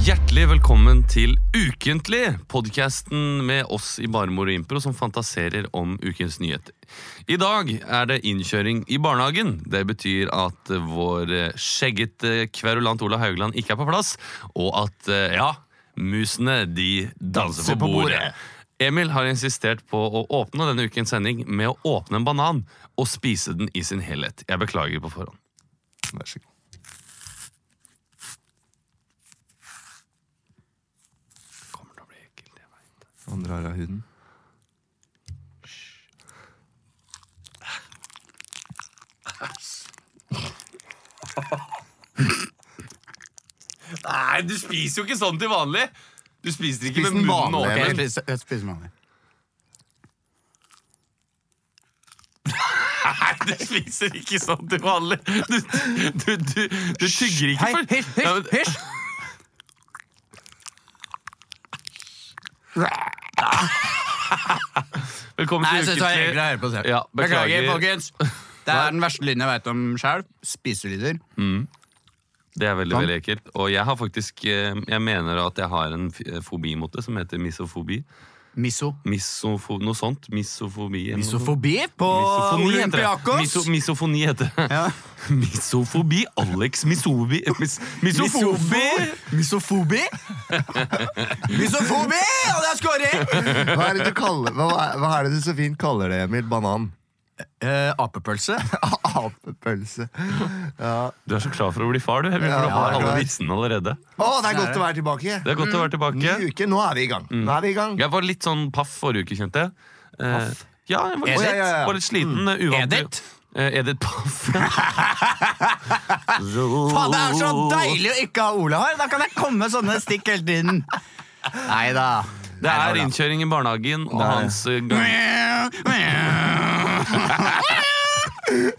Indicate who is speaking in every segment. Speaker 1: Hjertelig velkommen til Ukentlig, podkasten med oss i Barmor og Impro som fantaserer om ukens nyheter. I dag er det innkjøring i barnehagen. Det betyr at vår eh, skjeggete kverulant Ola Haugland ikke er på plass, og at, eh, ja, musene de danser på bordet. Emil har insistert på å åpne denne ukens sending med å åpne en banan og spise den i sin helhet. Jeg beklager på forhånd.
Speaker 2: Vær så god.
Speaker 1: Kommer til å bli ekkelt, jeg vet.
Speaker 2: Han drar av huden.
Speaker 1: Nei, du spiser jo ikke sånn til vanlig. Du spiser ikke
Speaker 3: Spis
Speaker 1: med
Speaker 3: den
Speaker 1: munnen
Speaker 3: vanlige. Jeg
Speaker 1: åpen.
Speaker 3: spiser- Jeg spiser den vanlige.
Speaker 1: Nei, du spiser ikke sånn til vanlig. Du, du, du, du tygger ikke for Ja, men- Velkommen
Speaker 3: Nei, jeg
Speaker 1: til
Speaker 3: synes det var egentlig å høre på selv.
Speaker 1: Ja, beklager.
Speaker 3: beklager, folkens. Det er den verste lyden jeg vet om selv. Spiselyder.
Speaker 1: Det er
Speaker 3: Sånn.
Speaker 1: veldig, veldig ekkelt. Og jeg har faktisk eh, Jeg mener at jeg har en f- eh, fobi mot det, som heter misofobi.
Speaker 3: Miso.
Speaker 1: Misofo... Noe sånt. Misofobi. eller noe sånt.
Speaker 3: Misofobi på
Speaker 1: Misofoni heter det.
Speaker 3: Olympiakos.
Speaker 1: Miso, misofoni heter det.
Speaker 3: Ja.
Speaker 1: Misofobi. Alex misobi mis, Misofobi!
Speaker 3: Misofobi? Misofobi! Og det er scoring!
Speaker 2: Hva er det du kaller hva, hva er det du så fint kaller det, Emil? Banan?
Speaker 3: Eh, apepølse.
Speaker 2: Apepølse.
Speaker 1: Du er så klar for å bli far, du. Henrik,
Speaker 2: Ja,
Speaker 1: for du har
Speaker 2: jeg er
Speaker 1: alle
Speaker 2: klar.
Speaker 1: vitsene allerede.
Speaker 2: Å, det er godt å være tilbake!
Speaker 1: Det Mm. er godt å være tilbake.
Speaker 2: Ny uke, nå er vi i gang. Nå er vi i gang.
Speaker 1: Jeg var litt sånn paff forrige uke, kjente jeg. Eh, ja, jeg var litt,
Speaker 3: Edith?
Speaker 1: ja, ja, ja. Var litt sliten. eh, Uvant.
Speaker 3: Edith?
Speaker 1: Eh, Edith Paff.
Speaker 3: Faen, det er så deilig å ikke ha Ola her! Da kan jeg komme med sånne stikk hele tiden. Nei da.
Speaker 1: Det er innkjøring i barnehagen, og hans eh, gang...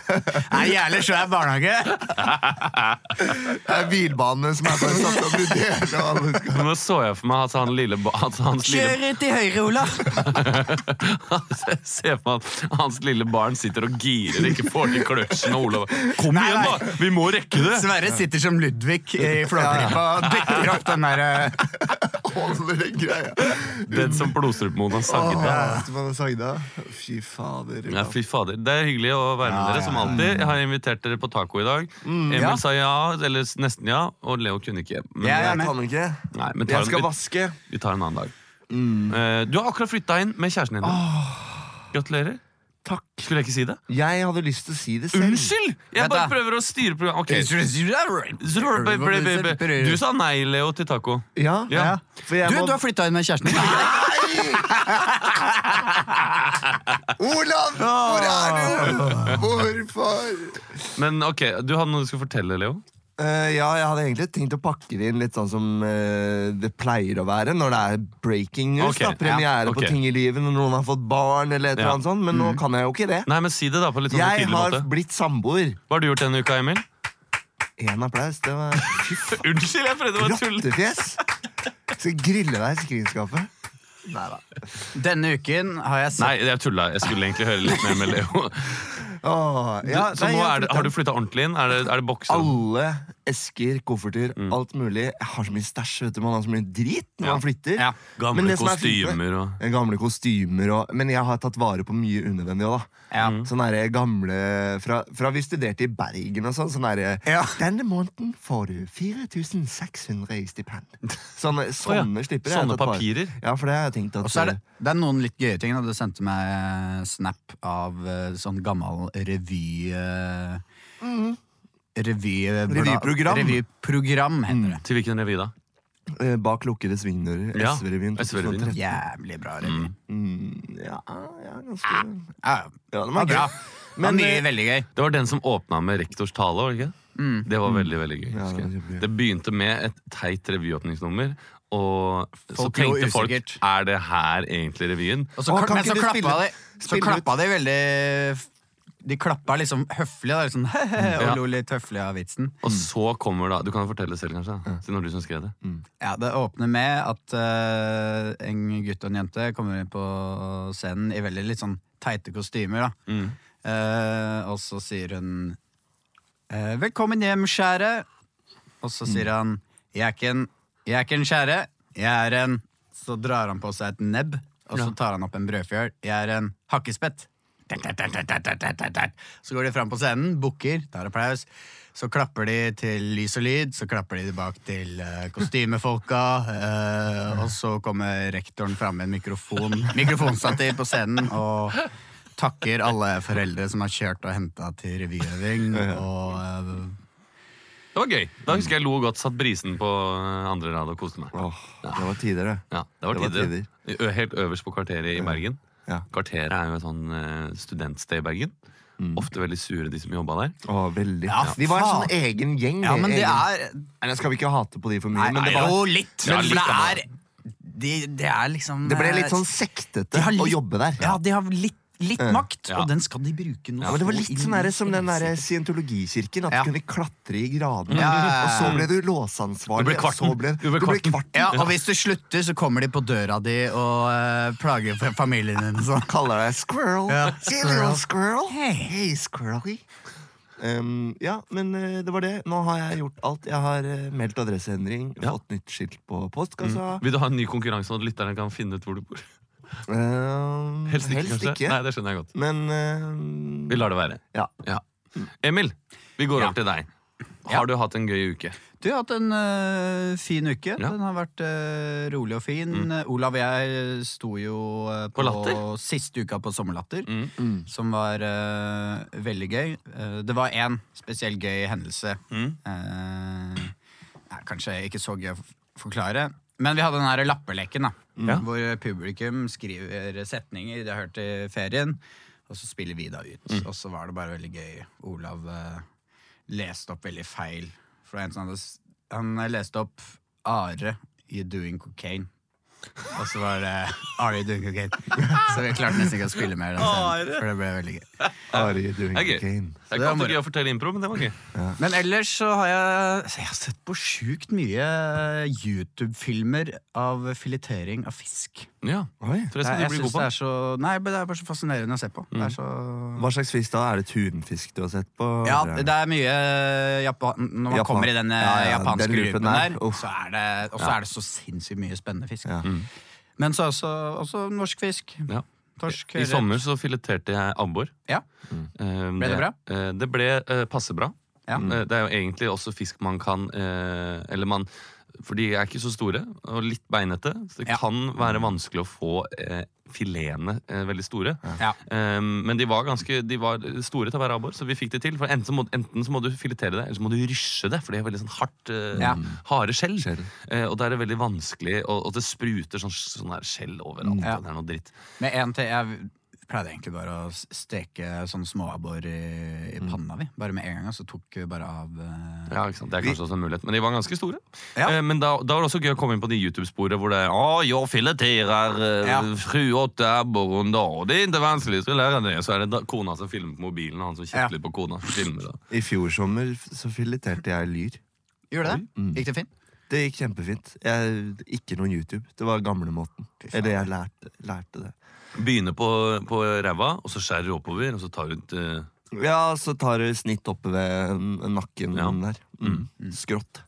Speaker 3: Det er en jævlig svær barnehage.
Speaker 2: Det er bilbanene som er bare satt opp i del, og alle skal
Speaker 1: Nå så jeg for meg at han lille ba- at hans lille,
Speaker 3: Kjør til høyre, Ola.
Speaker 1: Jeg ser for meg at hans lille barn sitter og girer ikke får til kløtsjen. Og Olav bare, Kom
Speaker 3: Nei,
Speaker 1: igjen,
Speaker 3: nei.
Speaker 1: da! Vi må rekke det!
Speaker 3: Sverre sitter som Ludvig i Flåklypa og dekker opp den der eh,
Speaker 2: holde den greia.
Speaker 1: Den som blodstrupemoen har
Speaker 2: Åh,
Speaker 1: sagget av.
Speaker 2: Esteban og Sagda. Fy fader.
Speaker 1: Ja, fy fader. Det er hyggelig å være med dere, som alltid. Jeg har invitert dere på taco i dag. Emil
Speaker 3: ja.
Speaker 1: sa ja, eller s- nesten ja, og Leo kunne ikke. Men,
Speaker 3: Jeg er
Speaker 2: Jeg
Speaker 3: med.
Speaker 2: kan ikke.
Speaker 1: Nei, men ta
Speaker 2: Jeg skal
Speaker 1: en,
Speaker 2: vaske.
Speaker 1: vi, vi tar en annen dag. Eh, du har akkurat flytta inn med kjæresten din. Gratulerer.
Speaker 2: Takk.
Speaker 1: Skulle jeg ikke si det?
Speaker 2: Jeg hadde lyst til å si det selv.
Speaker 1: Unnskyld! Jeg
Speaker 3: Vent
Speaker 1: bare
Speaker 3: da.
Speaker 1: prøver å styre programmet. Ok. Du sa nei, Leo, til taco.
Speaker 2: Ja,
Speaker 1: Ja.
Speaker 2: For jeg
Speaker 3: Du,
Speaker 2: må
Speaker 3: du har flytta inn med kjæresten din.
Speaker 2: Olav! Hvor er du? Hvorfor?
Speaker 1: Men ok, du hadde noe du skulle fortelle, Leo.
Speaker 2: Eh, ja, jeg hadde egentlig tenkt å pakke det inn litt sånn som eh, det pleier å være når det er breaking news.
Speaker 1: Ok,
Speaker 2: da, premiere
Speaker 1: ja, ok.
Speaker 2: på ting i livet når noen har fått barn, eller et
Speaker 1: Ja. Mm.
Speaker 2: eller annet sånt. Men nå kan jeg jo ikke det.
Speaker 1: Nei, men Si det da på litt sånn
Speaker 2: Jeg
Speaker 1: tydelig
Speaker 2: har
Speaker 1: måte.
Speaker 2: blitt samboer.
Speaker 1: Hva har du gjort denne uka, Emil?
Speaker 2: Én applaus. Det var
Speaker 1: Unnskyld, jeg prøvde å være tull.
Speaker 2: rottefjes. Skal grille deg i skrinskapet. Nei da.
Speaker 3: Denne uken har jeg
Speaker 1: Nei,
Speaker 3: sett
Speaker 1: jeg tulla. Jeg skulle egentlig høre litt mer med Leo.
Speaker 2: Åh,
Speaker 1: Du,
Speaker 2: ja,
Speaker 1: så
Speaker 2: nei,
Speaker 1: nå
Speaker 2: jeg
Speaker 1: er det,
Speaker 2: flyttet
Speaker 1: har du flytta ordentlig inn? Er det, er det bokser?
Speaker 2: Alle esker, kofferter, alt mulig. Jeg har så mye stæsj, vet du. Man har så mye drit når
Speaker 1: Mm. Ja.
Speaker 2: man flytter.
Speaker 3: Ja.
Speaker 1: Gamle
Speaker 2: Men det som er fint med-
Speaker 1: kostymer og-
Speaker 2: Eh, Gamle kostymer og Men jeg har tatt vare på mye unødvendig òg, da.
Speaker 3: Ja.
Speaker 2: Sånn er det gamle fra, fra vi studerte i Bergen og sånn. Sånn er det
Speaker 3: Ja.
Speaker 2: Denne måneden får du 4600 i stipend. Sånne,
Speaker 1: Å
Speaker 2: sånne
Speaker 1: ja,
Speaker 2: slipper
Speaker 1: sånne
Speaker 2: jeg. har tatt vare-
Speaker 1: papirer.
Speaker 2: Ja, for det har jeg tenkt at
Speaker 3: Og så er det, det er noen litt gøye ting. Da. Du sendte meg eh, snap av eh, sånn gammel revy... eh, Revy,
Speaker 2: Revyprogram.
Speaker 3: Revyprogram heter det.
Speaker 1: Mm. Til hvilken revy, da?
Speaker 2: Eh, Bak lukkede svingdører.
Speaker 1: Ja,
Speaker 2: SV-revyen.
Speaker 1: SV-revyen.
Speaker 2: 2013.
Speaker 3: Jævlig bra revy.
Speaker 2: Mm, sånn ja, ja, ganske
Speaker 3: Ah. Ja,
Speaker 2: Ja, den
Speaker 3: det
Speaker 2: var
Speaker 3: var bra.
Speaker 2: gøy.
Speaker 3: Men,
Speaker 2: Men,
Speaker 3: mye,
Speaker 2: eh,
Speaker 3: veldig gøy.
Speaker 1: Det var den som åpna med rektors tale. var Det ikke?
Speaker 3: Mm.
Speaker 1: Det var veldig veldig gøy.
Speaker 2: Mm. Ja, det
Speaker 1: husker
Speaker 2: var
Speaker 1: jeg.
Speaker 2: kjempegøy.
Speaker 1: det begynte med et teit revyåpningsnummer. Og så
Speaker 3: Folk lo
Speaker 1: tenkte folk
Speaker 3: usikkert.
Speaker 1: Er det her egentlig revyen?
Speaker 3: Og så,
Speaker 2: Å,
Speaker 3: kla-
Speaker 2: kan
Speaker 3: men
Speaker 2: ikke
Speaker 3: så
Speaker 2: du
Speaker 3: klappa
Speaker 2: spille-
Speaker 3: de Så
Speaker 2: spille
Speaker 3: klappa de veldig De klappa liksom høflig, da, liksom, og
Speaker 1: Ja.
Speaker 3: lo litt høflig av vitsen.
Speaker 1: Og så kommer da Du kan fortelle selv, kanskje? da, Siden det var du som skrev det.
Speaker 3: Ja, Det åpner med at eh, en gutt og en jente kommer inn på scenen i veldig litt sånn teite kostymer. da.
Speaker 2: Mm.
Speaker 3: Eh, og så sier hun eh, 'Velkommen hjem, kjære'. Og så
Speaker 2: Mm.
Speaker 3: sier han 'Jeg er ikke en, jeg er ikke en kjære, jeg er en' Så drar han på seg et nebb, og så tar han opp en brødfjøl. 'Jeg er en hakkespett'. Tert, tert, tert, tert, tert, tert, tert, tert. Så går de fram på scenen, bukker, tar applaus. Så klapper de til lys og lyd, så klapper de tilbake til eh, kostymefolka. eh, og så kommer rektoren fram med en mikrofon, mikrofonstativ på scenen og takker alle foreldre som har kjørt og henta til revyøving. Og eh,
Speaker 1: Det var gøy. Da husker jeg lo godt, satt brisen på eh, andre rad og koste meg.
Speaker 2: Åh, det var tider, det.
Speaker 1: Ja, det var
Speaker 2: Det var
Speaker 1: tider. Ø- Helt øverst på kvarteret i Bergen.
Speaker 2: Ja.
Speaker 1: Kvarteret er jo et sånn eh, studentsted i Bergen. Ofte veldig sure, de som jobba der.
Speaker 2: Åh, veldig.
Speaker 3: Ja,
Speaker 2: vi var en
Speaker 3: faen.
Speaker 2: sånn egen gjeng.
Speaker 3: Ja, men det
Speaker 2: egen-
Speaker 3: er
Speaker 2: Nei, nå skal vi ikke hate på de for mye,
Speaker 3: Nei,
Speaker 2: men det,
Speaker 3: nei,
Speaker 2: var,
Speaker 3: jo, litt.
Speaker 1: Ja,
Speaker 3: Men
Speaker 1: litt
Speaker 3: det
Speaker 1: av
Speaker 3: er det, det er liksom
Speaker 2: det ble
Speaker 3: eh,
Speaker 2: litt sånn
Speaker 3: de
Speaker 2: sektete
Speaker 3: har
Speaker 2: å
Speaker 3: litt-
Speaker 2: jobbe der.
Speaker 3: Ja, de har litt, litt
Speaker 2: Ja.
Speaker 3: makt,
Speaker 1: Ja.
Speaker 3: og den skal de bruke nå.
Speaker 2: Ja, men Det var
Speaker 3: så
Speaker 2: litt
Speaker 3: inn
Speaker 2: sånn
Speaker 3: i
Speaker 2: der, som den der
Speaker 3: helsike.
Speaker 2: scientologikirken. At
Speaker 3: Ja.
Speaker 2: du kunne klatre i gradene.
Speaker 3: Ja, ja, ja.
Speaker 2: Og så ble du
Speaker 1: Du ble
Speaker 2: låsansvarlig. og
Speaker 1: kvarten.
Speaker 2: så ble-
Speaker 1: Du ble
Speaker 2: Du ble
Speaker 1: kvarten.
Speaker 2: kvarten.
Speaker 3: Ja, og hvis du slutter, så kommer de på døra di og eh, plager f- familien din. Sånn.
Speaker 2: Kaller deg squirrel.
Speaker 3: Ja,
Speaker 2: Hey, little squirrel.
Speaker 3: Hey.
Speaker 2: Hey, squirrely. Um, ja, men eh, det var det. Nå har jeg gjort alt. Jeg har eh, meldt adresseendring,
Speaker 1: Ja. Mm.
Speaker 2: fått nytt skilt på postkassa.
Speaker 1: Vil du ha en ny konkurranse, sånn at lytterne kan finne ut hvor du bor?
Speaker 2: Um,
Speaker 1: Helst ikke, kanskje? Nei, det skjønner jeg godt.
Speaker 2: Men eh,
Speaker 1: Vi lar det være.
Speaker 2: ja.
Speaker 1: Ja. Emil, vi går over til deg. Har du hatt en gøy uke?
Speaker 3: Du har hatt en eh, fin uke.
Speaker 1: Ja. Mm.
Speaker 3: Den har vært eh, rolig og fin. Olav og jeg sto jo eh,
Speaker 1: På Latter?
Speaker 3: siste uka på Sommerlatter, som var eh, veldig gøy. Eh, det var én spesiell gøy hendelse. Eh, nei, kanskje ikke så gøy å f- forklare. Men vi hadde den her lappeleken, da.
Speaker 1: Ja.
Speaker 3: Hvor publikum skriver setninger de har hørt i ferien, og så spiller vi da ut. Og så var det bare veldig gøy. Olav eh, leste opp veldig feil. For det var en som hadde s- Han eh, leste opp Are i Doing Cocaine. Og så var det Are you doing cocaine? Så vi klarte nesten ikke å spille mer. Den scenen, for det ble veldig gøy.
Speaker 2: Are you doing
Speaker 1: Det er gøy.
Speaker 2: cocaine?
Speaker 1: Det er
Speaker 3: Det
Speaker 1: ikke
Speaker 3: var
Speaker 1: alltid
Speaker 3: moro.
Speaker 1: gøy å fortelle impro, men det var gøy.
Speaker 3: Men ellers så har jeg, så jeg har sett på sjukt mye YouTube-filmer av filetering av fisk.
Speaker 1: Ja,
Speaker 2: Oi.
Speaker 1: tror jeg
Speaker 3: Jeg,
Speaker 1: skal
Speaker 3: jeg
Speaker 1: du bli
Speaker 3: synes
Speaker 1: god
Speaker 3: det
Speaker 1: på.
Speaker 3: er så Nei, men det er bare så fascinerende å se på. Det er så
Speaker 2: Hva slags fisk da? Er det tunfisk du har sett på?
Speaker 3: ja,
Speaker 2: Eller er
Speaker 3: det er mye Japan, Når man
Speaker 2: Japan-
Speaker 3: kommer i den eh,
Speaker 2: Ja, ja,
Speaker 3: japanske
Speaker 2: den lupen
Speaker 3: gruppen
Speaker 2: der,
Speaker 3: der,
Speaker 2: uff.
Speaker 3: så er det, og så er det så sinnssykt mye spennende fisk.
Speaker 2: Ja.
Speaker 3: Men så er også, også norsk fisk.
Speaker 1: Ja.
Speaker 3: Torsk.
Speaker 1: I
Speaker 3: ørret.
Speaker 1: sommer så fileterte jeg abbor.
Speaker 3: Ja.
Speaker 1: Ble
Speaker 3: det bra?
Speaker 1: Ehm,
Speaker 3: Mm.
Speaker 1: Det ble eh, passe bra.
Speaker 3: Ja.
Speaker 1: Eh, Det er jo egentlig også fisk man kan eh, Eller man For de er ikke så store og litt beinete, så det
Speaker 3: Ja.
Speaker 1: kan være vanskelig å få eh, filetene eh, veldig store.
Speaker 3: Ja.
Speaker 1: Eh, men de var ganske De var store til å være abbor, så vi fikk det til. For enten så, må, enten så må du filetere det, eller så må du rysje det, for de har veldig sånn hardt eh,
Speaker 3: Ja.
Speaker 1: harde skjell.
Speaker 2: Skjell.
Speaker 1: Eh, og da er det veldig vanskelig, og, og det spruter sånn, sånn her skjell overalt.
Speaker 3: Mm. Ja.
Speaker 1: og Det er noe dritt.
Speaker 3: Men en til, jeg pleide egentlig bare å s- steke sånn småabbor i, i
Speaker 1: Mm.
Speaker 3: panna, vi. Bare med en gang, og så tok vi bare av eh,
Speaker 1: Ja, ikke sant? Det er kanskje også en mulighet, men de var ganske store.
Speaker 3: Ja.
Speaker 1: Eh, men da, da var det også gøy å komme inn på de YouTube-sporet hvor det er Å, jeg fileterer eh,
Speaker 3: Ja.
Speaker 1: sju-åtte abbor om dagen, det er ikke vanskelig, så lærer jeg det. Så er det da, kona som filmer på mobilen, og han som kikker
Speaker 3: Ja.
Speaker 1: litt på kona. som Filmer, da.
Speaker 2: det- I fjor sommer f- så fileterte jeg lyr.
Speaker 3: Gjorde det?
Speaker 1: mm.
Speaker 3: Gikk det fint?
Speaker 2: Det gikk kjempefint. Jeg, ikke noen YouTube. Det var gamlemåten.
Speaker 3: faen.
Speaker 2: Eller jeg lærte, lærte det.
Speaker 1: Begynner på, på ræva, og så skjærer du oppover, og så tar du ut eh,
Speaker 2: Ja, så tar du snitt oppe ved n- nakken
Speaker 1: Ja.
Speaker 2: der. Mm. Skrått.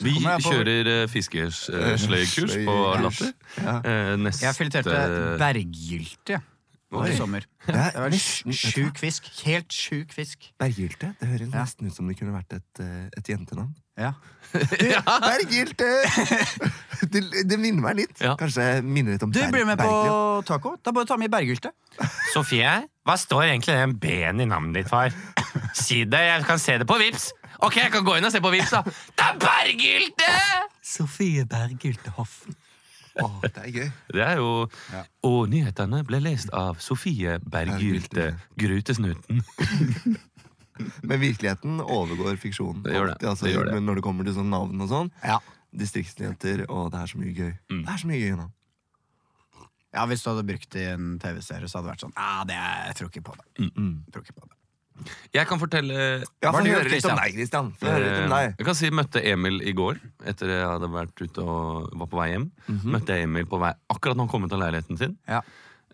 Speaker 1: Vi
Speaker 3: kommer jeg på- Eh,
Speaker 1: kjører uh, fiskesløykurs på
Speaker 2: Sløykurs.
Speaker 1: Latter.
Speaker 2: Ja.
Speaker 1: Eh, neste
Speaker 3: Jeg fileterte berggylte
Speaker 1: Oi. Mm,
Speaker 3: i sommer.
Speaker 2: Det er
Speaker 3: Det var
Speaker 2: nesten-
Speaker 3: sj- sjuk fisk. Helt sjuk fisk.
Speaker 2: Berggylte? Det høres nesten ut som det kunne vært et, eh, et jentenavn.
Speaker 3: Ja.
Speaker 2: Berggylte! Det, det minner meg litt.
Speaker 1: Ja.
Speaker 2: Kanskje jeg minner litt om
Speaker 3: Du
Speaker 2: Berg-
Speaker 3: blir med på
Speaker 2: Bergljot.
Speaker 3: taco? Da bare ta med berggylte.
Speaker 4: Sofie, hva står egentlig den B-en i navnet ditt for? Si det, jeg kan se det på Vips. Ok, jeg kan gå inn og se på Vips, da. Det er berggylte! Sofie Berg Gyltehoffen.
Speaker 2: Å, det er gøy.
Speaker 1: Det er jo Og nyhetene ble lest av Sofie Berggylte Grutesnuten.
Speaker 2: Men virkeligheten overgår fiksjonen.
Speaker 1: Det gjør det.
Speaker 2: Alltid, altså,
Speaker 1: Det gjør det.
Speaker 2: men Når det kommer til sånne navn og sånn. Distriktsnyheter, og det er så mye gøy. Det er så mye gøy navn.
Speaker 3: Ja, Hvis du hadde brukt det i en TV-serie, så hadde det vært sånn ah, det er, Jeg tror ikke på det.
Speaker 1: Mm,
Speaker 3: Jeg Tror ikke på det.
Speaker 1: Jeg kan fortelle
Speaker 2: Ja,
Speaker 3: Hva
Speaker 2: få
Speaker 3: har du
Speaker 2: høre
Speaker 3: gjort,
Speaker 2: litt
Speaker 3: Christian?
Speaker 2: om deg, Christian. Få høre litt om
Speaker 1: Eh,
Speaker 2: deg.
Speaker 1: Jeg kan si jeg møtte Emil i går Etter jeg hadde vært ute og var på vei hjem
Speaker 2: Mhm.
Speaker 1: Møtte jeg Emil på vei Akkurat når han kom ut av leiligheten sin
Speaker 3: Ja.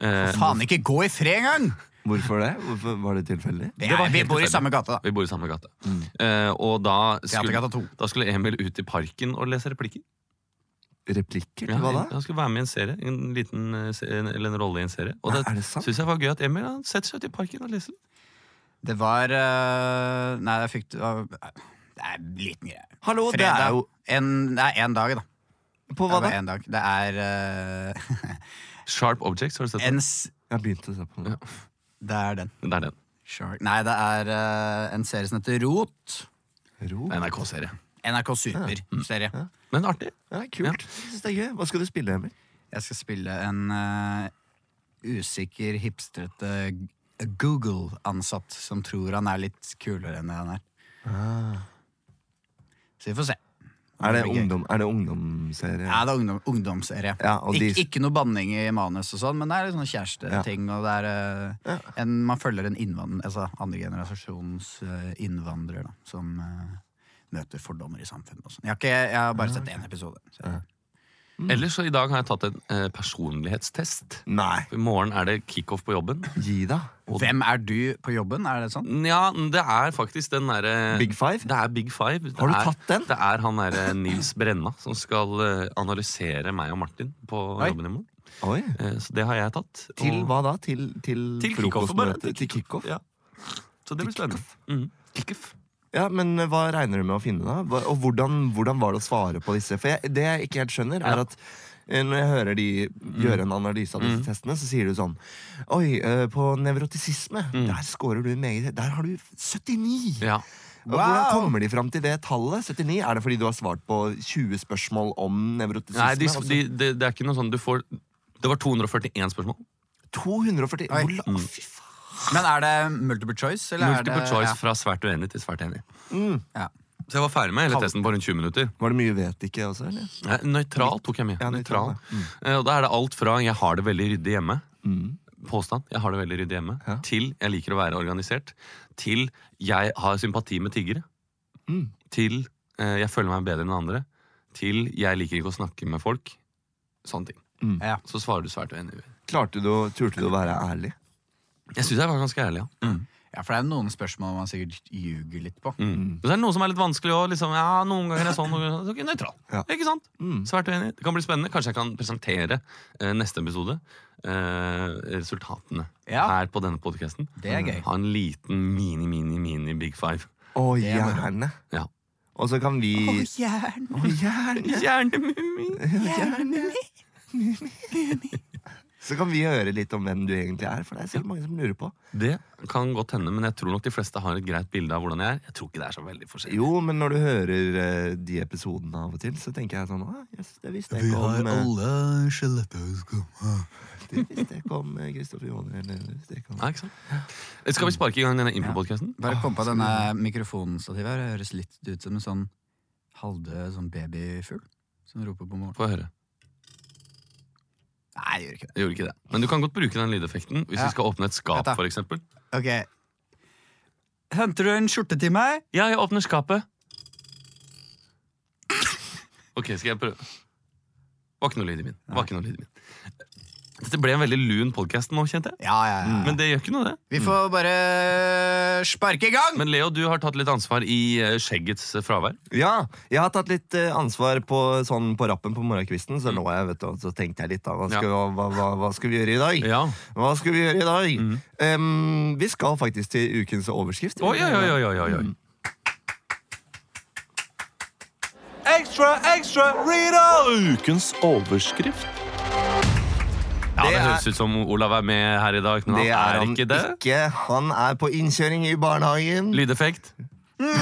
Speaker 1: Eh,
Speaker 3: Faen, ikke gå i fred engang!
Speaker 2: Hvorfor det? Hvorfor var det tilfeldig?
Speaker 3: Det
Speaker 1: Det var
Speaker 3: er- Vi
Speaker 1: helt
Speaker 3: bor i
Speaker 1: tilfeldig.
Speaker 3: samme gate, da.
Speaker 1: Vi bor i samme gate
Speaker 2: Mm.
Speaker 1: Eh, Og da
Speaker 3: Teatergata
Speaker 1: skulle,
Speaker 3: 2.
Speaker 1: da skulle Emil ut i parken og lese replikker
Speaker 2: Replikker?
Speaker 1: ja,
Speaker 2: Hva da?
Speaker 1: Han skulle være med i en serie En liten, eh, se- en- eller en rolle i en serie Og
Speaker 2: Nei,
Speaker 1: det,
Speaker 2: er det sant?
Speaker 1: synes jeg var gøy at Emil han setter seg ut i parken og leser
Speaker 3: Det var eh, Nei, jeg fikk det var- Det er en liten greie.
Speaker 2: Hallo, det
Speaker 3: Fredag.
Speaker 2: er jo
Speaker 3: en, Det er én dag, da.
Speaker 2: På hva
Speaker 3: det?
Speaker 2: da?
Speaker 3: er bare en dag. Det er
Speaker 1: Sharp Objects, har du sett
Speaker 3: eh,
Speaker 1: den?
Speaker 3: en s-
Speaker 2: Jeg begynte å se på den.
Speaker 3: Det er den.
Speaker 1: Det er den,
Speaker 3: Shark. Nei, det er eh, en serie som heter Rot.
Speaker 2: Ro.
Speaker 1: en NRK-serie
Speaker 3: NRK Super-serie.
Speaker 1: Men artig
Speaker 2: Mm. Ja, kult. Jeg synes det er gøy. Hva skal du spille, Emil?
Speaker 3: Jeg skal spille en eh, usikker, hipstrete g- Google-ansatt som tror han er litt kulere enn han er.
Speaker 2: Ah.
Speaker 3: Så vi får se.
Speaker 2: Er det,
Speaker 3: blir gøy.
Speaker 2: ungdom, er det ungdomsserie?
Speaker 3: Ja, det er ungdom, ungdomsserie.
Speaker 2: Ja, og de-
Speaker 3: Ik ikke noe banning i manus, og sånn, men det er litt sånn kjæresteting. og det er eh, en, Man følger en innvand- altså andre generasjons eh, innvandrer da, som eh, møter fordommer i samfunnet. og sånn. Jeg, har ikke- jeg har bare sett én episode. Så jeg,
Speaker 2: Mm.
Speaker 1: Ellers så i dag har jeg tatt en eh, personlighetstest
Speaker 2: Nei.
Speaker 1: I morgen er det kick-off på jobben
Speaker 2: Gi deg.
Speaker 3: Hvem er du på jobben? Er det sånn?
Speaker 1: Ja, det er faktisk den derre
Speaker 2: Big Five?
Speaker 1: Det er Big Five. Det
Speaker 2: Har du
Speaker 1: er,
Speaker 2: tatt den?
Speaker 1: Det er han derre Nils Brenna som skal eh, analysere meg og Martin på
Speaker 3: Oi.
Speaker 1: jobben i morgen.
Speaker 2: Oi.
Speaker 1: Eh, Så det har jeg tatt. og-
Speaker 2: Til hva da? Til, til,
Speaker 1: Til kickoff. bare.
Speaker 2: frokostmøte? Til kickoff?
Speaker 1: Ja. Så det blir spennende. Mm. Kickoff.
Speaker 2: Ja, men hva regner du med å finne da? Hva- Og hvordan, hvordan var det å svare på disse? For jeg, det jeg ikke helt skjønner er at eh, når jeg hører de
Speaker 1: Mm.
Speaker 2: gjøre en analyse av disse testene, så sier du sånn Oi, eh, på nevrotisisme, der scorer du meget Der har du 79!
Speaker 1: Mm. Ja.
Speaker 2: Og Hvordan kommer de fram til det tallet? 79? Er det fordi du har svart på 20 spørsmål om nevrotisisme? Altså,
Speaker 1: Nei, de,
Speaker 2: og så-
Speaker 1: de, det- det er ikke noe sånn du får Det var 241 spørsmål.
Speaker 2: 240
Speaker 3: Oi.
Speaker 2: Hvor la-
Speaker 1: Mm.
Speaker 2: Å, Fy faen.
Speaker 3: Men er det multiple choice? Eller
Speaker 1: Multiple
Speaker 3: er det,
Speaker 1: choice fra svært uenig til svært enig.
Speaker 2: Mm.
Speaker 3: Ja, ja.
Speaker 1: Så jeg var ferdig med hele testen på rundt 20 minutter.
Speaker 2: Var det mye vet ikke også, eller?
Speaker 1: Nei, Nøytral tok jeg med.
Speaker 2: Ja, Mm. nøytral,
Speaker 1: nøytral. Eh, Og da er det alt fra 'jeg har det veldig ryddig hjemme'
Speaker 2: Mm.
Speaker 1: Påstand 'jeg har det veldig ryddig hjemme'
Speaker 2: Ja.
Speaker 1: til 'jeg liker å være organisert' til 'jeg har sympati med tiggere'
Speaker 2: Mm.
Speaker 1: til eh, 'jeg føler meg bedre enn andre' til 'jeg liker ikke å snakke med folk'. Sånne ting.
Speaker 3: Ja.
Speaker 1: Så svarer du svært uenig.
Speaker 2: Klarte du, å- turte du å være ærlig?
Speaker 1: Jeg syns jeg var ganske ærlig, ja.
Speaker 2: Mm.
Speaker 3: for det er noen spørsmål man sikkert ljuger litt på.
Speaker 1: Mm. Men så er det noe som er litt vanskelig òg. Liksom, ja, noen ganger er det sånn, noen ganger er det sånn. Ok, Nøytral.
Speaker 2: Ja.
Speaker 1: Ikke sant?
Speaker 2: Mm.
Speaker 1: Svært uenig. Det kan bli spennende. Kanskje jeg kan presentere eh, neste episode. Eh, resultatene
Speaker 3: Ja.
Speaker 1: her på denne podkasten.
Speaker 3: Det er gøy.
Speaker 1: Ha en liten mini-mini-mini-big five.
Speaker 2: Å,
Speaker 3: er moro.
Speaker 2: gjerne!
Speaker 1: Ja.
Speaker 2: Og så kan vi
Speaker 3: jern.
Speaker 2: Å, gjerne!
Speaker 1: Hjernemumming!
Speaker 2: Så kan vi høre litt om hvem du egentlig er, for det er sikkert mange som lurer på.
Speaker 1: Det kan godt hende, men jeg tror nok de fleste har et greit bilde av hvordan jeg er. Jeg tror ikke det er så veldig forskjellig.
Speaker 2: Jo, men når du hører eh, de episodene av og til, så tenker jeg sånn Å, yes, det visste jeg ikke om eh,
Speaker 3: alle skjelettøyskamer.
Speaker 2: Det visste jeg ikke om eh, Kristoffer Joner, eller det visste jeg ikke om
Speaker 1: Ja, ikke sant? Skal vi sparke i gang denne impro-podkasten?
Speaker 3: Bare kom på denne mikrofonstativet her. Det høres litt ut som en sånn halvdød sånn babyfugl som roper på morgenen.
Speaker 1: Få høre.
Speaker 3: Nei, det gjør ikke det.
Speaker 1: Jeg gjorde ikke det. Men du kan godt bruke den lydeffekten hvis
Speaker 3: Ja.
Speaker 1: vi skal åpne et skap,
Speaker 3: Dette.
Speaker 1: for eksempel.
Speaker 3: Ok. Henter du en skjorte til meg?
Speaker 1: Ja, jeg åpner skapet. Ok, skal jeg prøve? Var ikke noe lyd i min. Var ikke noe lyd i min. Dette ble en veldig lun podkast nå, kjente jeg.
Speaker 3: Ja, ja, ja.
Speaker 2: Mm.
Speaker 1: Men det gjør ikke noe, det.
Speaker 3: Vi får bare sparke i gang!
Speaker 1: Men Leo, du har tatt litt ansvar i eh, skjeggets eh, fravær.
Speaker 2: Ja, jeg har tatt litt eh, ansvar på, sånn, på rappen på morgenkvisten, så lå jeg, vet du, og så tenkte jeg litt da, hva skal, hva, hva, hva skal vi gjøre i dag?
Speaker 1: Ja.
Speaker 2: Hva skal vi gjøre i dag? Em, vi skal faktisk til ukens overskrift.
Speaker 1: Mm. Oi, oi, oi, oi, oi, oi.
Speaker 4: Ekstra, ekstra, reader!
Speaker 5: Ukens overskrift.
Speaker 1: Ja, det
Speaker 2: Det er-
Speaker 1: høres ut som Olav er med her i dag, men
Speaker 2: Det
Speaker 1: han er, ikke det.
Speaker 2: ikke. Han er på innkjøring i barnehagen.
Speaker 1: Lydeffekt.
Speaker 2: Og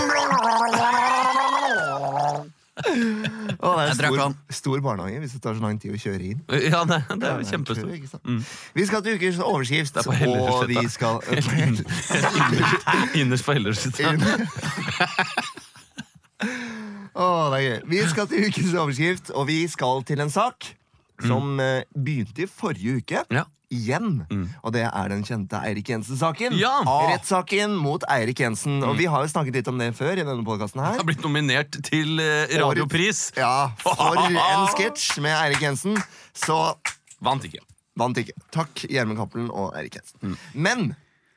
Speaker 2: det det er
Speaker 3: Jeg drakk
Speaker 2: stor,
Speaker 3: vann.
Speaker 2: stor barnehage hvis det tar så lang tid å kjøre inn.
Speaker 1: Ja, det, det er
Speaker 2: Det er
Speaker 1: kjempestort.
Speaker 2: ikke sant? Vi skal til ukens overskrift,
Speaker 1: er på Hellerudsletta.
Speaker 2: og vi skal
Speaker 1: Innerst på Hellerudsletta.
Speaker 2: Å, det er gøy. Vi skal til ukens overskrift, og vi skal til en sak som eh, begynte i forrige uke.
Speaker 1: Mm. Ja. Mm.
Speaker 2: Igjen. Og det er den kjente Eirik Jensen-saken. Ah.
Speaker 1: Ja. Mm.
Speaker 2: Rettssaken mot Eirik Jensen. Og vi har jo snakket litt om det før i denne podkasten her.
Speaker 1: Har blitt nominert til eh, radiopris.
Speaker 2: Ja, for en sketsj med Eirik Jensen. Så
Speaker 1: Vant ikke.
Speaker 2: Vant ikke. Takk, Gjermund Cappelen og Erik Jensen.
Speaker 1: Mm.
Speaker 2: Men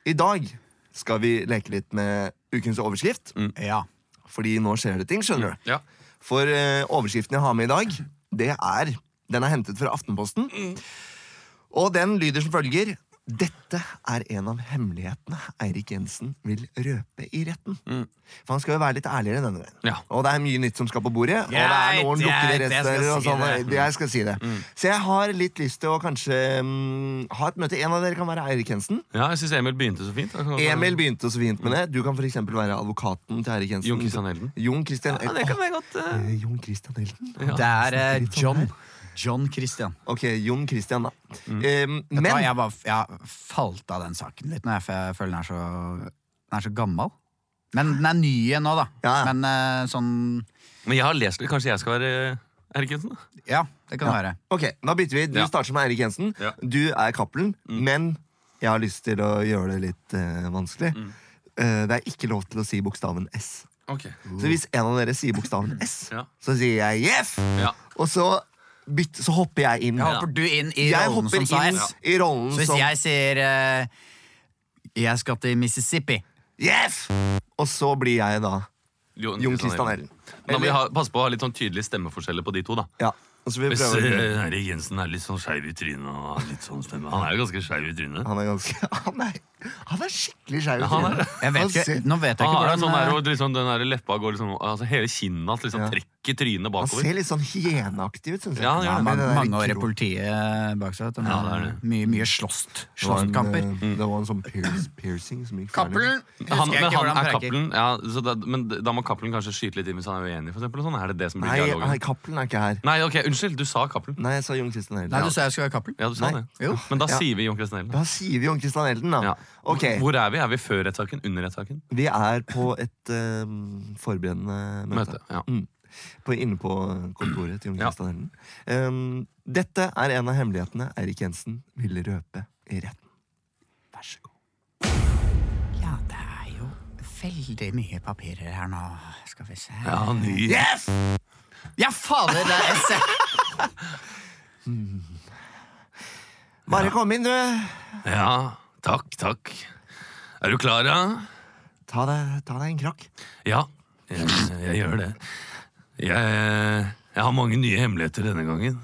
Speaker 2: i dag skal vi leke litt med ukens overskrift.
Speaker 1: Mm.
Speaker 3: Ja.
Speaker 2: Fordi nå skjer det ting, skjønner
Speaker 4: Mm,
Speaker 2: du.
Speaker 1: Ja.
Speaker 2: For eh, overskriften jeg har med i dag, det er Den er hentet fra Aftenposten.
Speaker 4: Mm.
Speaker 2: Og den lyder som følger. Dette er en av hemmelighetene Eirik Jensen vil røpe i retten.
Speaker 4: Mm.
Speaker 2: For han skal jo være litt ærligere denne gangen.
Speaker 1: Ja.
Speaker 2: Og det er mye nytt som skal på bordet. Og det er
Speaker 4: Greit,
Speaker 2: noen lukkede
Speaker 4: greit, jeg skal
Speaker 2: rester og
Speaker 4: si
Speaker 2: sånn.
Speaker 4: det. Mm.
Speaker 2: Jeg skal si det. Så jeg har litt lyst til å kanskje mm, ha et møte. En av dere kan være Eirik Jensen.
Speaker 1: Ja, jeg syns Emil begynte så fint.
Speaker 2: Emil begynte så fint med
Speaker 3: Mm.
Speaker 2: det. Du kan for eksempel være advokaten til Eirik Jensen.
Speaker 1: Jon Christian Elden.
Speaker 2: Jon Christian
Speaker 1: Ja, det kan være godt. eh.
Speaker 2: Eh, Jon Christian Elden?
Speaker 3: Det er eh, John. John Christian.
Speaker 2: Ok, Jon Christian, da. Eh,
Speaker 3: Mm. Vet du hva,
Speaker 2: men
Speaker 3: jeg, bare, jeg falt av den saken litt, når jeg, for jeg føler den er, så, den er så gammel. Men den er ny igjen nå, da.
Speaker 2: Ja, ja.
Speaker 3: Men eh, sånn
Speaker 1: Men jeg har lest det. Kanskje jeg skal være eh, Erik Jensen? da?
Speaker 3: Ja, det kan være.
Speaker 2: Ok, da bytter vi. Du
Speaker 1: Ja.
Speaker 2: starter som Eirik Jensen.
Speaker 1: Ja.
Speaker 2: Du er Cappelen,
Speaker 3: Mm.
Speaker 2: men jeg har lyst til å gjøre det litt eh, vanskelig.
Speaker 3: Mm.
Speaker 2: Eh, det er ikke lov til å si bokstaven S. Så hvis en av dere sier bokstaven S,
Speaker 1: Ja.
Speaker 2: så sier jeg Jeff,
Speaker 1: Ja.
Speaker 2: og så, byt- så hopper jeg inn.
Speaker 3: Jeg hopper du inn i
Speaker 2: Jeg
Speaker 3: rollen
Speaker 2: hopper
Speaker 3: som sa
Speaker 2: inn
Speaker 3: S.
Speaker 2: i rollen
Speaker 3: Så hvis
Speaker 2: som
Speaker 3: jeg sier eh, Jeg skal til Mississippi
Speaker 2: Jeff! Og så blir jeg da Jon Christian Ellen.
Speaker 1: Da må vi ha, passe på å ha litt sånn tydelige stemmeforskjeller på de to. da
Speaker 2: Ja, og så vil vi
Speaker 1: Hvis
Speaker 2: prøve
Speaker 1: eh, Erik Jensen er litt sånn skeiv i trynet og har litt sånn stemme Han er jo ganske skeiv i trynet.
Speaker 2: Han er ganske Han er, han er skikkelig skeiv. i
Speaker 1: han er
Speaker 2: trynet.
Speaker 3: jeg
Speaker 2: Han
Speaker 3: vet ikke,
Speaker 2: ser-
Speaker 3: Nå vet jeg
Speaker 1: Han
Speaker 3: ikke
Speaker 1: har en sånn der,
Speaker 3: hvordan eh,
Speaker 1: hvor liksom, den der leppa går liksom altså Hele kinnet hans liksom
Speaker 2: Ja.
Speaker 1: trekker trynet
Speaker 2: Han
Speaker 1: bakover.
Speaker 2: ser litt sånn hyeneaktig ut, syns jeg.
Speaker 1: Ja, han gjør
Speaker 3: ja,
Speaker 1: det.
Speaker 2: Med
Speaker 3: mange,
Speaker 2: den der
Speaker 3: mange år i
Speaker 2: kro-
Speaker 3: politiet bak seg. vet du.
Speaker 1: Ja, det er det.
Speaker 3: Mye, mye slåst,
Speaker 2: Det var en,
Speaker 3: slåsskamper.
Speaker 2: eh,
Speaker 1: Mm.
Speaker 2: Det var en sånn pierce, piercing som gikk
Speaker 3: Cappelen!
Speaker 1: Han,
Speaker 3: Husker
Speaker 1: men
Speaker 3: jeg ikke
Speaker 1: han
Speaker 3: hvordan
Speaker 1: er
Speaker 3: preker.
Speaker 1: Cappelen. Ja, så da, men da må Cappelen kanskje skyte litt inn hvis han er uenig. For eksempel, og sånn. Er det det som blir
Speaker 2: Nei,
Speaker 1: dialogen?
Speaker 2: nei, Cappelen er ikke her.
Speaker 1: Nei, ok, unnskyld. Du sa Cappelen.
Speaker 2: Nei, jeg sa Jon Christian Elden.
Speaker 3: Nei,
Speaker 2: Ja.
Speaker 3: du sa jeg skulle være Cappelen.
Speaker 1: Ja, du sa
Speaker 2: Nei.
Speaker 1: det.
Speaker 3: Jo.
Speaker 1: Men da
Speaker 2: Ja.
Speaker 1: sier vi Jon Christian Elden.
Speaker 2: Da sier vi Jon Christian Elden, da.
Speaker 1: Ja.
Speaker 2: Ok,
Speaker 1: Hvor er vi? Er vi før rettssaken? Under rettssaken?
Speaker 2: Vi er på et eh, forberedende møte.
Speaker 1: Møte. Ja.
Speaker 2: På, inne på kontoret til Jon
Speaker 1: Ja.
Speaker 2: Christian Elden. Um, dette er en av hemmelighetene Eirik Jensen ville røpe i retten. Vær så god.
Speaker 3: Ja, det er jo veldig mye papirer her nå. Skal vi se
Speaker 1: ja, ny.
Speaker 2: Yes!
Speaker 3: Ja, fader! Det er S!
Speaker 2: Bare kom inn, du.
Speaker 1: Ja, takk, takk. Er du klar, da?
Speaker 2: Ta deg, ta deg en krakk.
Speaker 1: Ja, jeg, jeg gjør det. Jeg, jeg har mange nye hemmeligheter denne gangen.